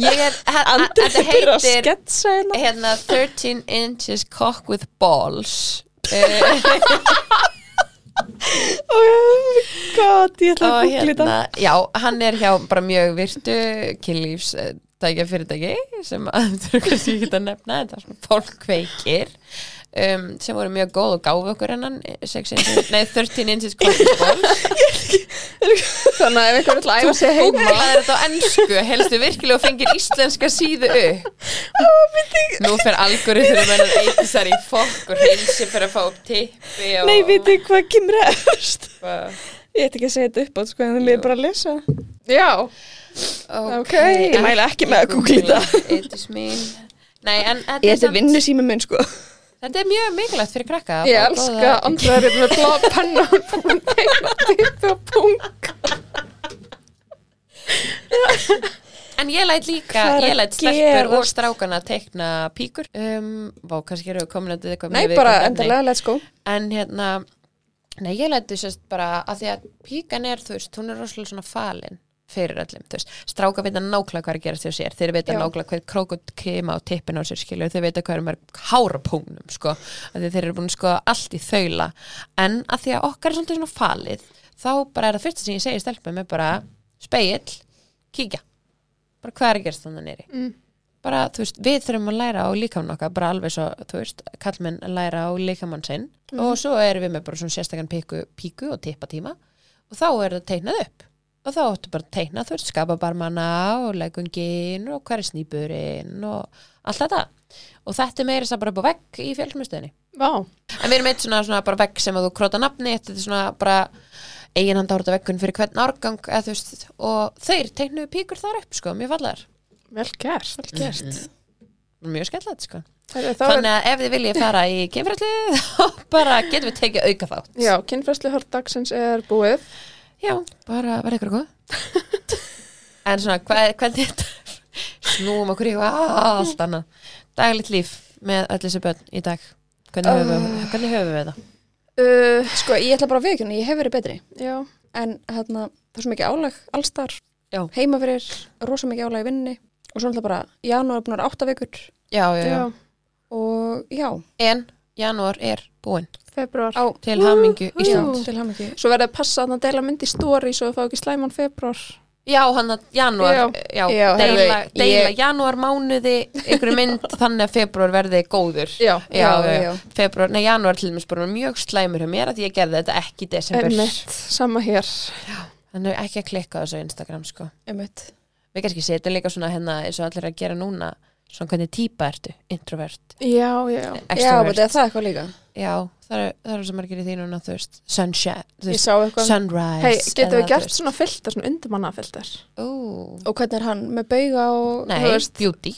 [SPEAKER 1] Ég er, he- a- þetta
[SPEAKER 2] andrið byrja að
[SPEAKER 1] heitir
[SPEAKER 2] sketsa hérna
[SPEAKER 1] hérna 13 inches cock with balls uh,
[SPEAKER 2] oh my god, ég
[SPEAKER 1] og
[SPEAKER 2] ætla að googla þetta
[SPEAKER 1] hérna, já, hann er hjá bara mjög virtu kynlífs tækja fyrirtæki sem að <laughs> þú eru kannski ekki að nefna þetta er svona fólk veikir um, sem voru mjög góð og gáfu okkur hennan 6 inches, nei 13 inches cock with balls
[SPEAKER 2] hérna.
[SPEAKER 3] Þannig að ef einhver vill æfa sér heima
[SPEAKER 1] Googlaði þetta á ennsku, helstu virkilega og fengir íslenska síðu upp Nú fer algori fyrir mennan eitisar í fokk og hreinsi fyrir að fá upp tippi og
[SPEAKER 2] nei, veitu hvað kemur efst
[SPEAKER 1] eitthvað.
[SPEAKER 2] ég ætti ekki að segja þetta upp átt, sko, en það er bara að lesa
[SPEAKER 3] <laughs> Já,
[SPEAKER 1] Ok,
[SPEAKER 3] Ókei.
[SPEAKER 2] Ég mæla ekki með að googla þetta.
[SPEAKER 1] Eitis mín Nei, en þetta
[SPEAKER 2] ég
[SPEAKER 1] er,
[SPEAKER 2] ætti
[SPEAKER 1] samt,
[SPEAKER 2] vinnu síma mun, sko
[SPEAKER 1] þetta er mjög mikilvægt fyrir krakka að
[SPEAKER 3] ég
[SPEAKER 1] fá
[SPEAKER 3] elska
[SPEAKER 1] góða-
[SPEAKER 3] Andra er hérna með blá <laughs> penna Hún er búin að teikna tippi og pung
[SPEAKER 1] En ég læt líka,
[SPEAKER 2] Hvað er
[SPEAKER 1] ég
[SPEAKER 2] að
[SPEAKER 1] læt stelpur og
[SPEAKER 2] gerast?
[SPEAKER 1] strákana tekna píkur um, Vá, kannski eru við komin að þetta eitthvað
[SPEAKER 2] nei,
[SPEAKER 1] mjög
[SPEAKER 2] bara
[SPEAKER 1] viðkvæmt efni.
[SPEAKER 2] endalega, let's go
[SPEAKER 1] en hérna nei, ég læti sérst bara að því að píkan er, þú veist, hún er rosalega svona falin fyrir öllum, þú veist, stráka vita nákvæmlega hvað er að gerast hjá sér, þeir vita
[SPEAKER 2] Já.
[SPEAKER 1] nákvæmlega hvað krókut krema á tippin á sér skilur þeir vita hvað er mörg hárapúnum sko, að því þeir eru búin að skoða allt í þaula en að því að okkar er svolítið svona falið, þá bara er það fyrsta sem ég segi stelpum er bara speill kíkja, bara hvað er að gerast þannig nýri
[SPEAKER 3] Mm.
[SPEAKER 1] bara, þú veist, við þurfum að læra á líkamann okkar, bara alveg svo, þú veist, kallmenn læra á líkamann sinn og svo erum við með bara svona sérstakann píku, píku og tippatíma og þá er það teiknað upp og þá áttu bara að teikna, þú veist, skapa barmana og legungin og hver er snýburinn og allt þetta og þetta er meira þess að bara upp á vegg í fjölsmyndstuðinni
[SPEAKER 3] Vá,
[SPEAKER 1] en við erum eitt svona, svona bara vegg sem að þú króta nafni, þetta er svona bara eigin handa orða vekkun fyrir hvern árgang eða, þú veist, og þeir teiknuðu píkur þar upp sko, mjög fallegar
[SPEAKER 3] Vel gert.
[SPEAKER 2] Vel gert.
[SPEAKER 1] Mm-hmm. mjög skemmtilegt sko
[SPEAKER 3] Heru,
[SPEAKER 1] þannig að ef þið viljið fara í kemfræsli <laughs> þá bara getum við tekið auka þátt
[SPEAKER 3] Já, kynfræslu dagsins er búið.
[SPEAKER 1] Já, bara verða ykkur góð <laughs> En svona, hvað, hvernig þetta snúum okkur í eitthvað allt annað Daglitt líf með öll þessi börn í dag Hvernig höfum, við, hvernig höfum við það?
[SPEAKER 3] Uh,
[SPEAKER 2] Sko, ég ætla bara að viðkjörna, ég hef verið betri.
[SPEAKER 3] já,
[SPEAKER 2] En hérna, það er svo mikið álag allstar,
[SPEAKER 1] Já.
[SPEAKER 2] heima fyrir, rosa mikið álag í vinninni. Og svo náttúrulega bara, janúar er búin að vera átta vikur.
[SPEAKER 1] Já, já,
[SPEAKER 3] já,
[SPEAKER 1] já
[SPEAKER 2] Og já,
[SPEAKER 1] En janúar er búinn
[SPEAKER 3] februar.
[SPEAKER 2] á,
[SPEAKER 1] Til hamingju Ísland
[SPEAKER 2] já, til hann ekki.
[SPEAKER 3] Svo verður að passa að deila mynd í stóri svo þú fá ekki slæman februar.
[SPEAKER 1] Já, hann að janúar Já,
[SPEAKER 3] Já.
[SPEAKER 2] Já,
[SPEAKER 1] deila,
[SPEAKER 2] heyrðu,
[SPEAKER 1] deila
[SPEAKER 2] ég-
[SPEAKER 1] janúar mánuði ykkur mynd þannig að februar verði góður
[SPEAKER 3] Já.
[SPEAKER 1] Já,
[SPEAKER 2] Já,
[SPEAKER 1] já,
[SPEAKER 2] já.
[SPEAKER 1] Februar, nei, janúar til dæmis bara var mjög slæmur hjá mér að því ég gerði þetta ekki í desember
[SPEAKER 3] Einmitt, sama hér.
[SPEAKER 1] Þannig ekki að klikka á þessu Instagram sko
[SPEAKER 2] Einmitt.
[SPEAKER 1] við kannski setjum líka svona hérna eins og allir að gera núna svona hvernig típa ertu, introvert
[SPEAKER 3] Já, já.
[SPEAKER 2] Já,
[SPEAKER 1] extrovert,
[SPEAKER 2] betur það eitthvað líka.
[SPEAKER 1] já það eru- það eru svo margir í því núna þú veist, sunshine, þú
[SPEAKER 3] Ég
[SPEAKER 1] veist
[SPEAKER 3] sá eitthvað.
[SPEAKER 1] sunrise
[SPEAKER 3] Hei, getum við gert svona filter, svona undirmannafilter?
[SPEAKER 1] svona
[SPEAKER 2] Og hvernig er hann með bauga og,
[SPEAKER 1] nei,
[SPEAKER 2] þú veist,
[SPEAKER 1] beauty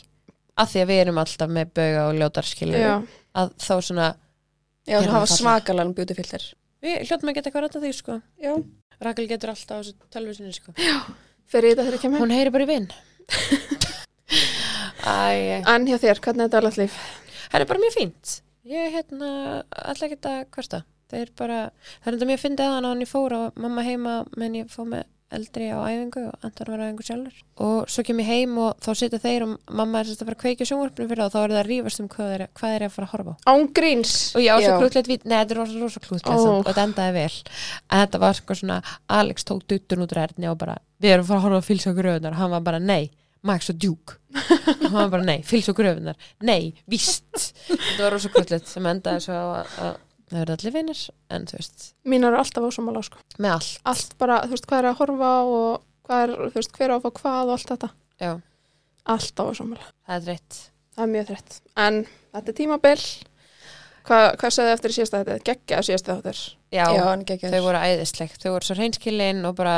[SPEAKER 1] að því að við erum alltaf með bauga og ljótarskilu
[SPEAKER 3] Já,
[SPEAKER 1] að þá svona,
[SPEAKER 2] já,
[SPEAKER 1] Gerðu
[SPEAKER 2] hann hafa
[SPEAKER 1] það fallega.
[SPEAKER 2] svakalan beauty filter.
[SPEAKER 1] við hljóttum að geta eitthvað rætta því sko,
[SPEAKER 2] Já.
[SPEAKER 1] Rakel getur alltaf á þessu tölvisinu sko,
[SPEAKER 3] fyrir þetta þegar ég kem heim.
[SPEAKER 1] hún heyri bara í vinn Æ,
[SPEAKER 3] En hjá þér, hvernig er daglegt líf?
[SPEAKER 1] það er bara mjög fínt ég hérna alltaf ekki að kvarta það er bara, það er enda mjög fyndið að hann hann ég fór og mamma heima menn ég fór með eldri á æfingu og Anton var á æfingu sjálfur og svo kem ég heim og þá sitja þeir og mamma er sérst að fara að kveikja sjónvarpinu fyrir það og þá er það að rífast um hvað er, hvað er að fara að horfa á
[SPEAKER 3] Án gríns.
[SPEAKER 1] og já, svo
[SPEAKER 2] Já.
[SPEAKER 1] krútlegt vít, neða, þetta er rosa, rosa krútlegt
[SPEAKER 3] Ó.
[SPEAKER 1] og þetta endaði vel en þetta var sko svona, Alex tók duttun út úr erðni og bara, við erum að fara að horfa á fylsa og gröfunar og hann var bara, nei, Max og Duke og hann var bara, nei, fylsa og gröfunar nei, víst þetta var rosa krútlegt sem endaði svo að, að það verði allir vinnir, en þú veist
[SPEAKER 3] Mín eru alltaf ásumála, sko.
[SPEAKER 1] með allt,
[SPEAKER 3] Allt bara, þú veist, hvað er að horfa á og hvað er, þú veist, hver á að fá hvað og allt þetta.
[SPEAKER 1] já,
[SPEAKER 3] Alltaf ásumála.
[SPEAKER 1] það er rétt
[SPEAKER 3] Það er mjög þreytt. En þetta er tímabil. Hvað, hvað segði eftir í síðasta þetta? Geggja síðasta þáttir.
[SPEAKER 1] já,
[SPEAKER 2] Já, hann geggjör.
[SPEAKER 1] þau voru æðislegt, þau voru svo reynskilin og bara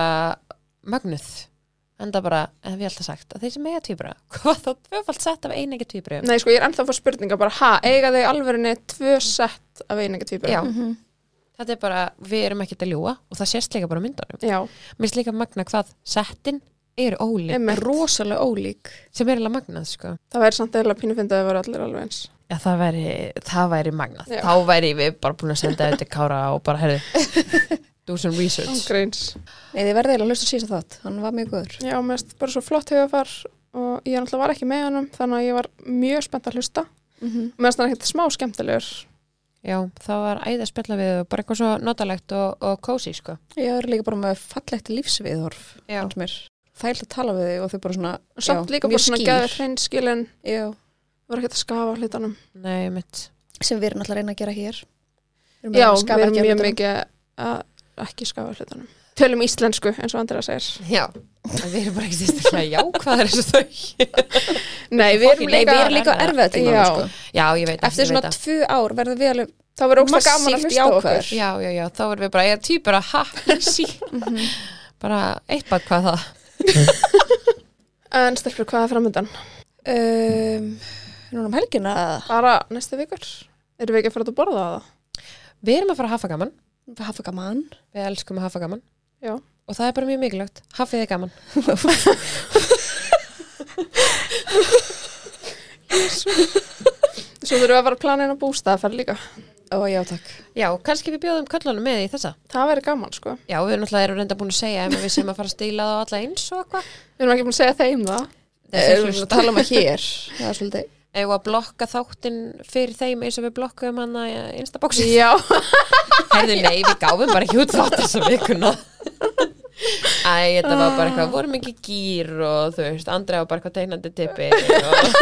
[SPEAKER 1] mögnuð enda bara, en við alltaf sagt að þeir sem eiga tvíbra, <laughs> hvað þá tvöfald sett af einegi tvíbra
[SPEAKER 3] Nei, sko, ég er ennþá að fá spurninga bara, ha, eiga þau í alvörinni tvö sett af einega tvíbura?
[SPEAKER 1] Já.
[SPEAKER 2] Mhm.
[SPEAKER 1] þetta er bara, við erum ekkert að ljúa og það sést líka bara á myndunum.
[SPEAKER 3] Já,
[SPEAKER 1] Mér finnst líka magna hvað settin er ólík,
[SPEAKER 3] einmitt.
[SPEAKER 2] Rosalega ólík.
[SPEAKER 1] sem er alveg magnað sko.
[SPEAKER 3] Það væri samt eða pínu fyndið að það voru allir alveg eins.
[SPEAKER 1] Já, það væri, það væri magnað.
[SPEAKER 3] Já.
[SPEAKER 1] Þá væri við bara búin að senda þetta kára og bara, herðu, do some research.
[SPEAKER 3] Ángreins.
[SPEAKER 2] Nei, þið verðið eiginlega að hlusta síðan þátt. Hann var mjög góður.
[SPEAKER 3] Já, mér finnst bara svo flott hugafar og ég náttúrulega var ekki með honum, þannig að ég var mjög spennt að hlusta.
[SPEAKER 2] Mhm.
[SPEAKER 3] Mér finnst þannig ekkert smá skemmtilegur.
[SPEAKER 1] Já, það var æði að spjalla við og bara eitthvað svo notalegt og, og cozy sko.
[SPEAKER 2] Ég er líka bara með fallegt lífsviðhorf.
[SPEAKER 1] Já.
[SPEAKER 2] fannst mér. Þægilt að tala við þig og þau bara svona,
[SPEAKER 3] Og samt
[SPEAKER 2] já,
[SPEAKER 3] líka
[SPEAKER 2] mjög
[SPEAKER 3] bara svona
[SPEAKER 2] skýr.
[SPEAKER 3] gæðið hreinskilin,
[SPEAKER 2] já,
[SPEAKER 3] var ekkert að skafa hlutunum.
[SPEAKER 1] Nei, mitt.
[SPEAKER 2] sem við erum alltaf að reyna að gera hér. Við erum að
[SPEAKER 3] Já,
[SPEAKER 2] reyna að
[SPEAKER 3] við
[SPEAKER 2] skafa
[SPEAKER 3] erum
[SPEAKER 2] ekki af
[SPEAKER 3] mjög
[SPEAKER 2] hlutunum.
[SPEAKER 3] mikið að ekki skafa hlutunum. Tölum íslensku, eins og Andrea segir.
[SPEAKER 1] Já. En Við erum bara ekki sérstaklega jákvæðar eins og þau.
[SPEAKER 3] Nei, við
[SPEAKER 1] Fokkin,
[SPEAKER 3] erum
[SPEAKER 2] Nei,
[SPEAKER 3] líka...
[SPEAKER 2] við erum líka erfið tíma,
[SPEAKER 3] Já.
[SPEAKER 2] sko.
[SPEAKER 1] Já, ég veit að
[SPEAKER 2] Eftir svona
[SPEAKER 1] að.
[SPEAKER 2] tvö ár verðum við alveg
[SPEAKER 3] Það var ógst gaman að
[SPEAKER 2] massíft
[SPEAKER 3] hlusta á okkur.
[SPEAKER 2] jákvæðar.
[SPEAKER 1] Já, já, já, þá erum við bara, ég er týpur að ha, sí. Mhm. bara eitt bætt hvað það.
[SPEAKER 3] En stelpur, hvað er framöndan?
[SPEAKER 2] um, núna um helgina að
[SPEAKER 3] Bara næstu vikur? Erum við ekki að fara út að borða það?
[SPEAKER 1] Við erum að fara að hafa gaman.
[SPEAKER 2] hafa gaman.
[SPEAKER 1] Við elskum að hafa gaman
[SPEAKER 3] Já.
[SPEAKER 1] og það er bara mjög mikilvægt. Hafið þið gaman.
[SPEAKER 3] Svo þurfum við að fara að plana inn á bústað að fara líka.
[SPEAKER 2] Ó, já, takk.
[SPEAKER 1] Já, kannski við bjóðum köllunum með í þessa.
[SPEAKER 3] Það væri gaman, sko.
[SPEAKER 1] Já, við náttúrulega erum reynda búin að segja ef við séum að fara að stíla það á alla eins og eitthvað.
[SPEAKER 3] Við erum ekki búin að segja þeim það.
[SPEAKER 1] Þeir
[SPEAKER 2] Erum við
[SPEAKER 1] hlusta.
[SPEAKER 2] að <laughs> tala um að hér? Það er svolítið.
[SPEAKER 1] Ef að blokka þáttinn fyrir þeim eins og við blokkuðum hann að instaboksi. <laughs>
[SPEAKER 3] Já.
[SPEAKER 1] Herðu, nei, við gáfum bara ekki út þátt þessa vikuna. <laughs> Ah. Æ, þetta var bara eitthvað, vorum ekki gýr og þú veist, Andrea var bara eitthvað tegnandi <laughs> tippi og...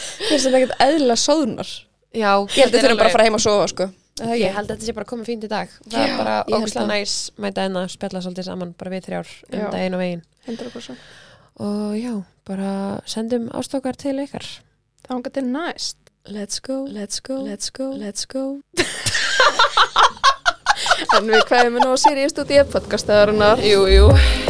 [SPEAKER 2] Mér finnst þetta ekkert eðla sóðunar.
[SPEAKER 1] Já,
[SPEAKER 2] Ég held að þau þurfum bara að fara heim og sofa, sko. Er Það
[SPEAKER 1] Ég
[SPEAKER 2] ekki.
[SPEAKER 1] held að þetta sé bara komið fínt í dag. Það er
[SPEAKER 2] Já,
[SPEAKER 1] bara
[SPEAKER 2] ég held
[SPEAKER 1] ógstlega
[SPEAKER 2] það.
[SPEAKER 1] næs mæta enna, spjalla svolítið saman, bara við þrjár um
[SPEAKER 3] Já.
[SPEAKER 1] daginn og veginn.
[SPEAKER 3] 100%.
[SPEAKER 1] og já, bara sendum ástokar til ykkar
[SPEAKER 3] Það vangar til næst.
[SPEAKER 2] Let's go, let's go, let's go, let's go.
[SPEAKER 3] en við kveðum nú á Sirius.df podcast eða rannar
[SPEAKER 1] Jú, jú